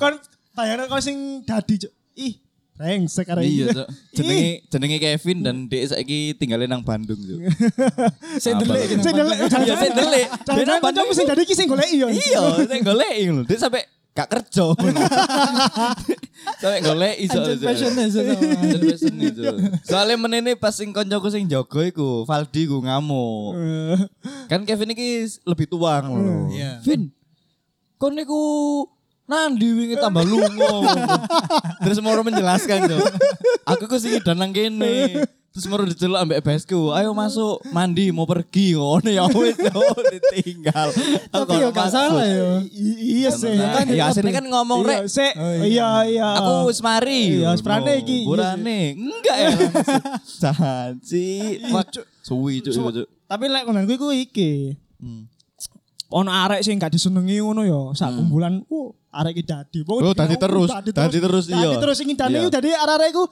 [SPEAKER 1] Kon bayangno kon sing dadi cok. Ih, rengsek arek
[SPEAKER 2] Iya
[SPEAKER 1] iki.
[SPEAKER 2] Cuk. Jenenge jenenge Kevin dan dia saiki tinggalnya nang Bandung Cuk.
[SPEAKER 3] Saya delik
[SPEAKER 2] Apa?
[SPEAKER 3] gitu.
[SPEAKER 1] Sing delik,
[SPEAKER 2] Iya, sing delik.
[SPEAKER 1] Jangan
[SPEAKER 2] Dia nang
[SPEAKER 1] kancamu sing dadi iki sing golek yo.
[SPEAKER 2] Iya, saya golek lho. Dia sampai gak kerja. sampai golek iso.
[SPEAKER 3] Anjir
[SPEAKER 2] Cuk.
[SPEAKER 3] passionnya sih. sama.
[SPEAKER 2] Anjir, passion itu. Soalnya menene pas sing koncoku sing jaga iku, Valdi ku ngamuk.
[SPEAKER 1] Eh,
[SPEAKER 2] Kan Kevin iki lebih tua ngono.
[SPEAKER 3] Iya.
[SPEAKER 2] Vin. Kon niku nandi wingi tambah lungo. Terus mau menjelaskan yo. Aku ku sing dan nang kene. Terus mau diceluk ambek besku, ayo masuk mandi mau pergi ngono ya wis yo ditinggal.
[SPEAKER 3] Tapi ya gak salah ya.
[SPEAKER 1] i- Iya sih.
[SPEAKER 2] Iya,
[SPEAKER 1] kan
[SPEAKER 2] iya, aslinya kan
[SPEAKER 1] Iya,
[SPEAKER 2] ngomong, Rek.
[SPEAKER 1] sik.
[SPEAKER 3] Oh, iya.
[SPEAKER 1] Iya, iya.
[SPEAKER 2] Aku wis mari.
[SPEAKER 1] Iya, wis prane iki. Iya,
[SPEAKER 2] Burane. Enggak ya. Jahat sih. Wah, Suwi Iya, cuk iku, cuk.
[SPEAKER 1] Tapi lek konanku iku iki.
[SPEAKER 2] Hmm.
[SPEAKER 1] Ono arek sing gak disenengi ngono ya, sak kumpulan uh arek iki dadi. Pokoknya
[SPEAKER 2] Oh, dadi
[SPEAKER 1] dia-
[SPEAKER 2] terus, dadi terus, iya.
[SPEAKER 1] Dadi terus sing dadi
[SPEAKER 2] Iya.
[SPEAKER 1] iku dadi arek-arek iku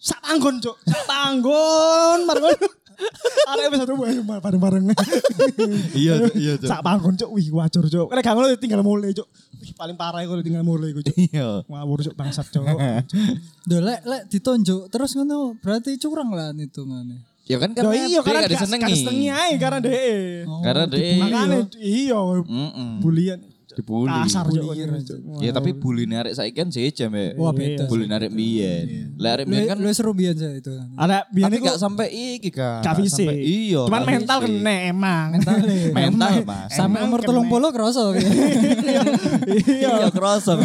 [SPEAKER 1] sak tanggon, Cuk. Sak tanggon, margon. Arek wis satu ayo mar- bareng-bareng.
[SPEAKER 2] Iya, Cuk, iya, Cuk.
[SPEAKER 1] Sak tanggon, Cuk. Wih, wajur, Cuk. Lek gak ngono tinggal mulai, Cuk. Wih, paling parah iku tinggal mulai iku, Cuk.
[SPEAKER 2] Iya.
[SPEAKER 1] Ngawur, Cuk, bangsat, Cuk.
[SPEAKER 3] Duh, lek lek ditonjok terus ngono berarti curang lah hitungannya.
[SPEAKER 2] Ya kan
[SPEAKER 1] Yo
[SPEAKER 2] karena
[SPEAKER 1] iya,
[SPEAKER 2] dia
[SPEAKER 1] karena
[SPEAKER 2] gak disenengi.
[SPEAKER 1] disenengi ae karena dhek.
[SPEAKER 3] Oh.
[SPEAKER 2] Karena dia
[SPEAKER 1] Makane iya,
[SPEAKER 2] Mm-mm.
[SPEAKER 1] bulian.
[SPEAKER 2] dibully.
[SPEAKER 1] Kasar, Cuk.
[SPEAKER 2] Ya tapi bully narik saiki kan sejam ya.
[SPEAKER 3] Wah, beda.
[SPEAKER 2] Bully narik mbiyen. Lah arek mbiyen
[SPEAKER 3] Lu
[SPEAKER 2] kan
[SPEAKER 3] lu seru biyen sih itu.
[SPEAKER 1] Ada biyen
[SPEAKER 2] tapi
[SPEAKER 1] iku
[SPEAKER 2] gak sampai iki kan.
[SPEAKER 1] Gak
[SPEAKER 2] Gak
[SPEAKER 1] fisik.
[SPEAKER 2] sampai- Iya.
[SPEAKER 1] Cuman
[SPEAKER 2] gak
[SPEAKER 1] mental
[SPEAKER 2] fisik.
[SPEAKER 1] kena emang.
[SPEAKER 2] Mental, Mas.
[SPEAKER 3] Sampai
[SPEAKER 1] Emang
[SPEAKER 3] umur
[SPEAKER 1] kena.
[SPEAKER 3] telung puluh kerasa.
[SPEAKER 2] Iya kerasa lho.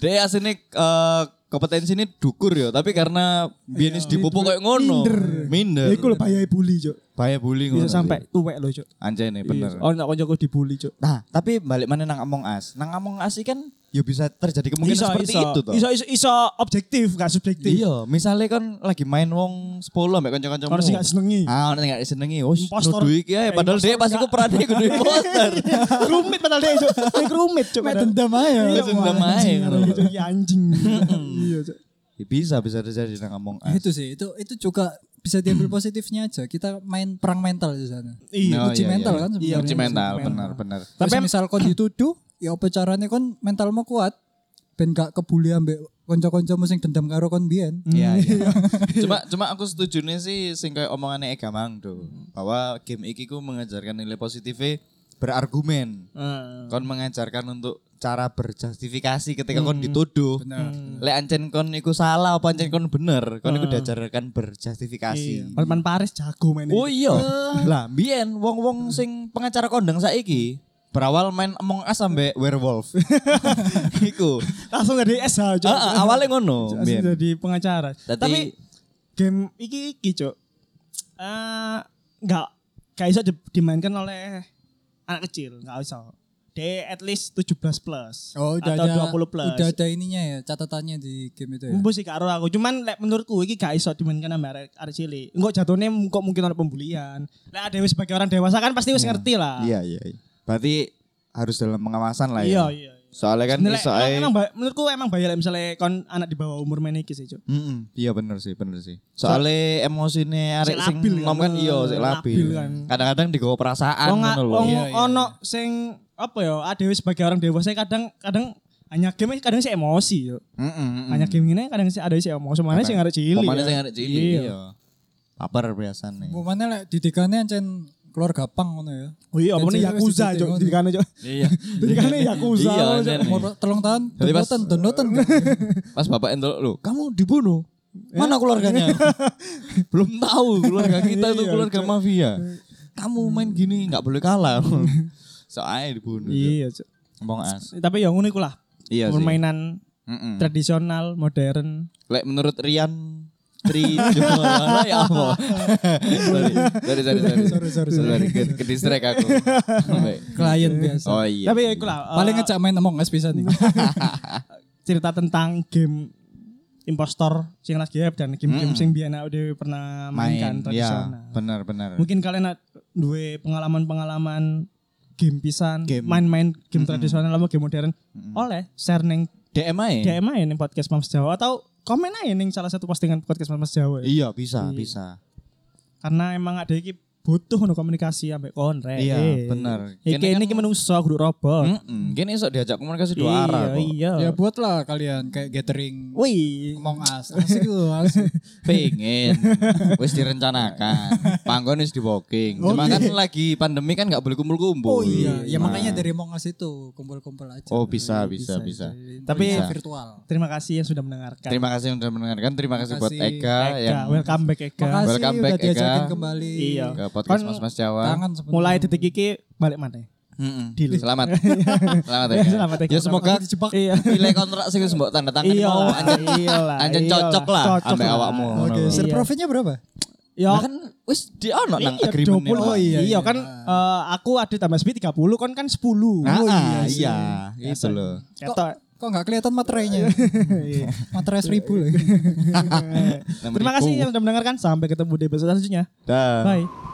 [SPEAKER 2] Dia aslinya eh, kompetensi ini dukur ya, tapi karena bienis dipupuk kayak
[SPEAKER 1] Iya.
[SPEAKER 2] ngono.
[SPEAKER 1] Minder.
[SPEAKER 2] Minder.
[SPEAKER 1] Iku lho bahaya bully, Cuk.
[SPEAKER 2] Bahaya bullying
[SPEAKER 1] Bisa sampai tuwek lho, Cuk.
[SPEAKER 2] Anjay nih Iya, bener.
[SPEAKER 1] Oh, nak kancaku dibully, Cuk.
[SPEAKER 2] Nah, tapi balik mana nang Among Us. Nang Among Us ini kan ya bisa terjadi kemungkinan
[SPEAKER 1] Iso,
[SPEAKER 2] seperti
[SPEAKER 1] iso.
[SPEAKER 2] itu toh.
[SPEAKER 1] Iso iso iso objektif, gak subjektif.
[SPEAKER 2] Iya, misalnya kan lagi main wong 10 mbak kanca-kancamu.
[SPEAKER 1] Orang sih gak senengi.
[SPEAKER 2] Ah, orang gak senengi. Oh,
[SPEAKER 1] Impostor.
[SPEAKER 2] nuduh iki ae.
[SPEAKER 1] Eh,
[SPEAKER 2] Padahal dia pasti ku perannya kudu impostor.
[SPEAKER 1] rumit padahal dia, Cuk. Dia rumit, Cuk.
[SPEAKER 3] Mek dendam ya. aja.
[SPEAKER 1] Iya,
[SPEAKER 2] dendam
[SPEAKER 1] wah, anjing,
[SPEAKER 2] aja,
[SPEAKER 1] arek
[SPEAKER 2] Cuk.
[SPEAKER 1] gitu, iya, anjing. Iya, Cuk.
[SPEAKER 2] Ya, bisa, bisa terjadi nang Among
[SPEAKER 1] Nah.
[SPEAKER 3] Ya,
[SPEAKER 1] Eh,
[SPEAKER 2] Us.
[SPEAKER 3] itu sih itu itu juga bisa
[SPEAKER 1] Hmm.
[SPEAKER 3] diambil positifnya aja kita main perang mental di sana
[SPEAKER 1] Iya.
[SPEAKER 2] No. Oh,
[SPEAKER 3] uji
[SPEAKER 2] iya,
[SPEAKER 3] mental
[SPEAKER 2] iya.
[SPEAKER 3] kan
[SPEAKER 1] Iya,
[SPEAKER 3] sebenarnya
[SPEAKER 2] Uji mental, benar-benar.
[SPEAKER 3] tapi
[SPEAKER 1] Tapi-
[SPEAKER 3] misal kon dituduh ya apa caranya kon mentalmu kuat ben gak kebuli ambek konco-konco sing dendam karo kon biyen
[SPEAKER 1] Hmm.
[SPEAKER 2] Iya, iya. cuma cuma aku setuju nih sih sing kayak omongannya Ega Mangdo
[SPEAKER 1] Hmm.
[SPEAKER 2] bahwa game iki ku mengajarkan nilai positifnya berargumen.
[SPEAKER 1] Eh,
[SPEAKER 2] Hmm. Kon mengajarkan untuk cara berjustifikasi ketika
[SPEAKER 1] Hmm.
[SPEAKER 2] kon dituduh. Benar. Lek ancen kon iku salah apa ancen kon bener, kon iku
[SPEAKER 1] Hmm. iya. Eh.
[SPEAKER 2] diajarkan berjustifikasi.
[SPEAKER 1] Preman Paris jago main.
[SPEAKER 2] Oh
[SPEAKER 1] ini.
[SPEAKER 2] iya. Lah mbiyen
[SPEAKER 1] Hmm.
[SPEAKER 2] wong-wong sing pengacara kondang saiki berawal main Among Us sampe werewolf. iku.
[SPEAKER 1] Langsung dari SH, Cuk.
[SPEAKER 2] Heeh, awalnya ngono.
[SPEAKER 1] Asli
[SPEAKER 2] mbiyen.
[SPEAKER 1] jadi pengacara.
[SPEAKER 2] Dadi-
[SPEAKER 1] Tapi game iki iki cok. Eh nggak gak iso di- dimainkan oleh anak kecil, nggak iso. De at least 17 plus atau 20 plus. Hmm.
[SPEAKER 3] Oh, udah ada ininya ya catatannya di game itu ya
[SPEAKER 1] Mbok sih karo aku, cuman lek menurutku iki gak iso dimainkan sama arek arek cilik. Engko jatuhne kok mungkin ada pembulian. Lek ada wis sebagai orang dewasa kan pasti wis ngerti lah.
[SPEAKER 2] Iya iya. iya. Berarti harus dalam pengawasan lah
[SPEAKER 1] Iya,
[SPEAKER 2] ya.
[SPEAKER 1] iya.
[SPEAKER 2] Soalnya kan
[SPEAKER 1] Nilai,
[SPEAKER 2] iso ae.
[SPEAKER 1] emang, ba- menurutku emang bahaya lek misalnya kon anak di bawah umur main iki sih, Cuk.
[SPEAKER 2] Mm-mm, Iya bener sih, bener sih. Soalnya emosine arek
[SPEAKER 1] Sik
[SPEAKER 2] sing
[SPEAKER 1] labil
[SPEAKER 2] ngom kan
[SPEAKER 1] kan.
[SPEAKER 2] iya sik
[SPEAKER 1] Labil
[SPEAKER 2] labil.
[SPEAKER 1] kan.
[SPEAKER 2] Kadang-kadang digawa perasaan
[SPEAKER 1] wong
[SPEAKER 2] ngono lho.
[SPEAKER 1] wong
[SPEAKER 3] Iya, iya,
[SPEAKER 1] ono sing apa ya adewe sebagai orang dewasa kadang kadang hanya game kadang sih emosi yo
[SPEAKER 2] Heeh.
[SPEAKER 1] hanya game ini kadang sih ada sih emosi mana sih ngarep cilik ya.
[SPEAKER 2] Pemane sing arek cilik iya. Paper biasane.
[SPEAKER 3] Momennya lek didikane ancen keluar gapang ngono ya
[SPEAKER 1] oh iya apa nih
[SPEAKER 3] Jadi
[SPEAKER 1] yakuza
[SPEAKER 3] wis
[SPEAKER 1] cok
[SPEAKER 3] ditinggal.
[SPEAKER 1] jadi kan cok
[SPEAKER 2] Iya.
[SPEAKER 1] jadi kan yakuza
[SPEAKER 2] Iya,
[SPEAKER 1] Cok.
[SPEAKER 2] anjen.
[SPEAKER 3] umur telung tahun
[SPEAKER 2] Jadi pas-
[SPEAKER 3] donoten donoten
[SPEAKER 2] kan? Pas bapak entuk lho, kamu dibunuh. Mana keluarganya? Belum tahu keluarga kita itu
[SPEAKER 1] Iya,
[SPEAKER 2] keluarga mafia. Kamu main gini nggak boleh kalah. Soalnya dibunuh. Cuk.
[SPEAKER 1] Iya, Cuk.
[SPEAKER 2] Wong as.
[SPEAKER 1] tapi yang ngono iku lah.
[SPEAKER 2] Iya sih. Hmm.
[SPEAKER 1] Permainan
[SPEAKER 2] Mm-mm.
[SPEAKER 1] tradisional, modern.
[SPEAKER 2] Lek menurut Rian Tri Jumala ya apa? sorry, sorry, sorry, sorry, sorry, sorry, sorry. Ke- ke distract aku. Baik.
[SPEAKER 3] klien biasa.
[SPEAKER 2] oh iya.
[SPEAKER 1] Tapi ya iku lah. eh,
[SPEAKER 3] Paling ngejak main Among Us bisa nih.
[SPEAKER 1] cerita tentang game impostor sing lagi hype dan game-game
[SPEAKER 2] Mm.
[SPEAKER 1] sing biyen aku dhewe pernah mainkan
[SPEAKER 2] ya,
[SPEAKER 1] tradisional.
[SPEAKER 2] benar, benar.
[SPEAKER 1] Mungkin kalian ad- duwe pengalaman-pengalaman game pisan,
[SPEAKER 2] Game.
[SPEAKER 1] main-main game tradisional apa game modern. Oleh share ning
[SPEAKER 2] DM aja. ya?
[SPEAKER 1] DM aja ning podcast Mams Jawa atau komen aja ning salah satu postingan podcast Mams Jawa. ya.
[SPEAKER 2] Iya, bisa,
[SPEAKER 1] Iya.
[SPEAKER 2] bisa.
[SPEAKER 1] Karena emang ada iki butuh no komunikasi ambek konre.
[SPEAKER 2] Iya, bener.
[SPEAKER 1] Iki
[SPEAKER 2] Kene kan-
[SPEAKER 1] ini Eh, ki menungso grup robot.
[SPEAKER 2] Mm-mm. Kene esok diajak komunikasi dua
[SPEAKER 1] Iya,
[SPEAKER 2] arah kok.
[SPEAKER 1] iya.
[SPEAKER 3] ya buatlah kalian kayak gathering
[SPEAKER 1] Wih,
[SPEAKER 3] Among Us. Asik loh, asik.
[SPEAKER 2] Pengen. wis direncanakan. Panggon wis di booking. Cuma kan lagi pandemi kan nggak boleh kumpul-kumpul.
[SPEAKER 3] Oh iya, ya
[SPEAKER 2] Nah.
[SPEAKER 3] makanya dari Among Us itu kumpul-kumpul aja.
[SPEAKER 2] Oh, bisa, bisa, bisa.
[SPEAKER 1] Tapi
[SPEAKER 3] Tapi virtual.
[SPEAKER 1] terima kasih yang sudah mendengarkan.
[SPEAKER 2] Terima kasih yang sudah mendengarkan. Terima kasih buat
[SPEAKER 3] Terima kasih,
[SPEAKER 2] Eka,
[SPEAKER 1] Eka,
[SPEAKER 2] yang
[SPEAKER 1] welcome back Eka.
[SPEAKER 3] Makasih
[SPEAKER 2] Welcome
[SPEAKER 3] udah
[SPEAKER 2] back, Eka.
[SPEAKER 3] diajakin kembali.
[SPEAKER 1] Iya.
[SPEAKER 2] ke podcast
[SPEAKER 1] Kon-
[SPEAKER 2] Mas Mas Jawa.
[SPEAKER 3] Tangan sebentar.
[SPEAKER 1] Mulai detik iki balik mana?
[SPEAKER 2] Mm-mm.
[SPEAKER 1] Deal.
[SPEAKER 2] Selamat. Selamat ya.
[SPEAKER 1] Selamat Eka.
[SPEAKER 2] Ya semoga
[SPEAKER 3] Aku dijebak.
[SPEAKER 1] Iya.
[SPEAKER 2] nilai kontrak sing wis mbok tanda tangan
[SPEAKER 1] Iya
[SPEAKER 2] mau
[SPEAKER 1] lah,
[SPEAKER 2] anjen
[SPEAKER 1] iya lah,
[SPEAKER 2] anjen
[SPEAKER 1] iya
[SPEAKER 2] cocok
[SPEAKER 1] lah.
[SPEAKER 2] lah
[SPEAKER 1] Cocok
[SPEAKER 2] ambek
[SPEAKER 1] lah.
[SPEAKER 2] awakmu.
[SPEAKER 3] Oke,
[SPEAKER 2] ngono.
[SPEAKER 3] share
[SPEAKER 1] Iya.
[SPEAKER 3] profitnya berapa?
[SPEAKER 1] Yo,
[SPEAKER 2] Lah kan wis di ono nang
[SPEAKER 1] iya,
[SPEAKER 2] agreement
[SPEAKER 1] 20.
[SPEAKER 3] Oh, iya,
[SPEAKER 1] iya,
[SPEAKER 3] iya.
[SPEAKER 1] kan eh, aku ada tambah speed 30, kon kan 10.
[SPEAKER 2] Nah,
[SPEAKER 1] Oh,
[SPEAKER 2] ah,
[SPEAKER 1] sih.
[SPEAKER 2] iya, itu loh.
[SPEAKER 1] Ketok. Iya.
[SPEAKER 3] Kok nggak kelihatan materainya? materai seribu loh.
[SPEAKER 1] Terima kasih yang sudah mendengarkan. Sampai ketemu di episode selanjutnya.
[SPEAKER 2] Dah.
[SPEAKER 1] Bye.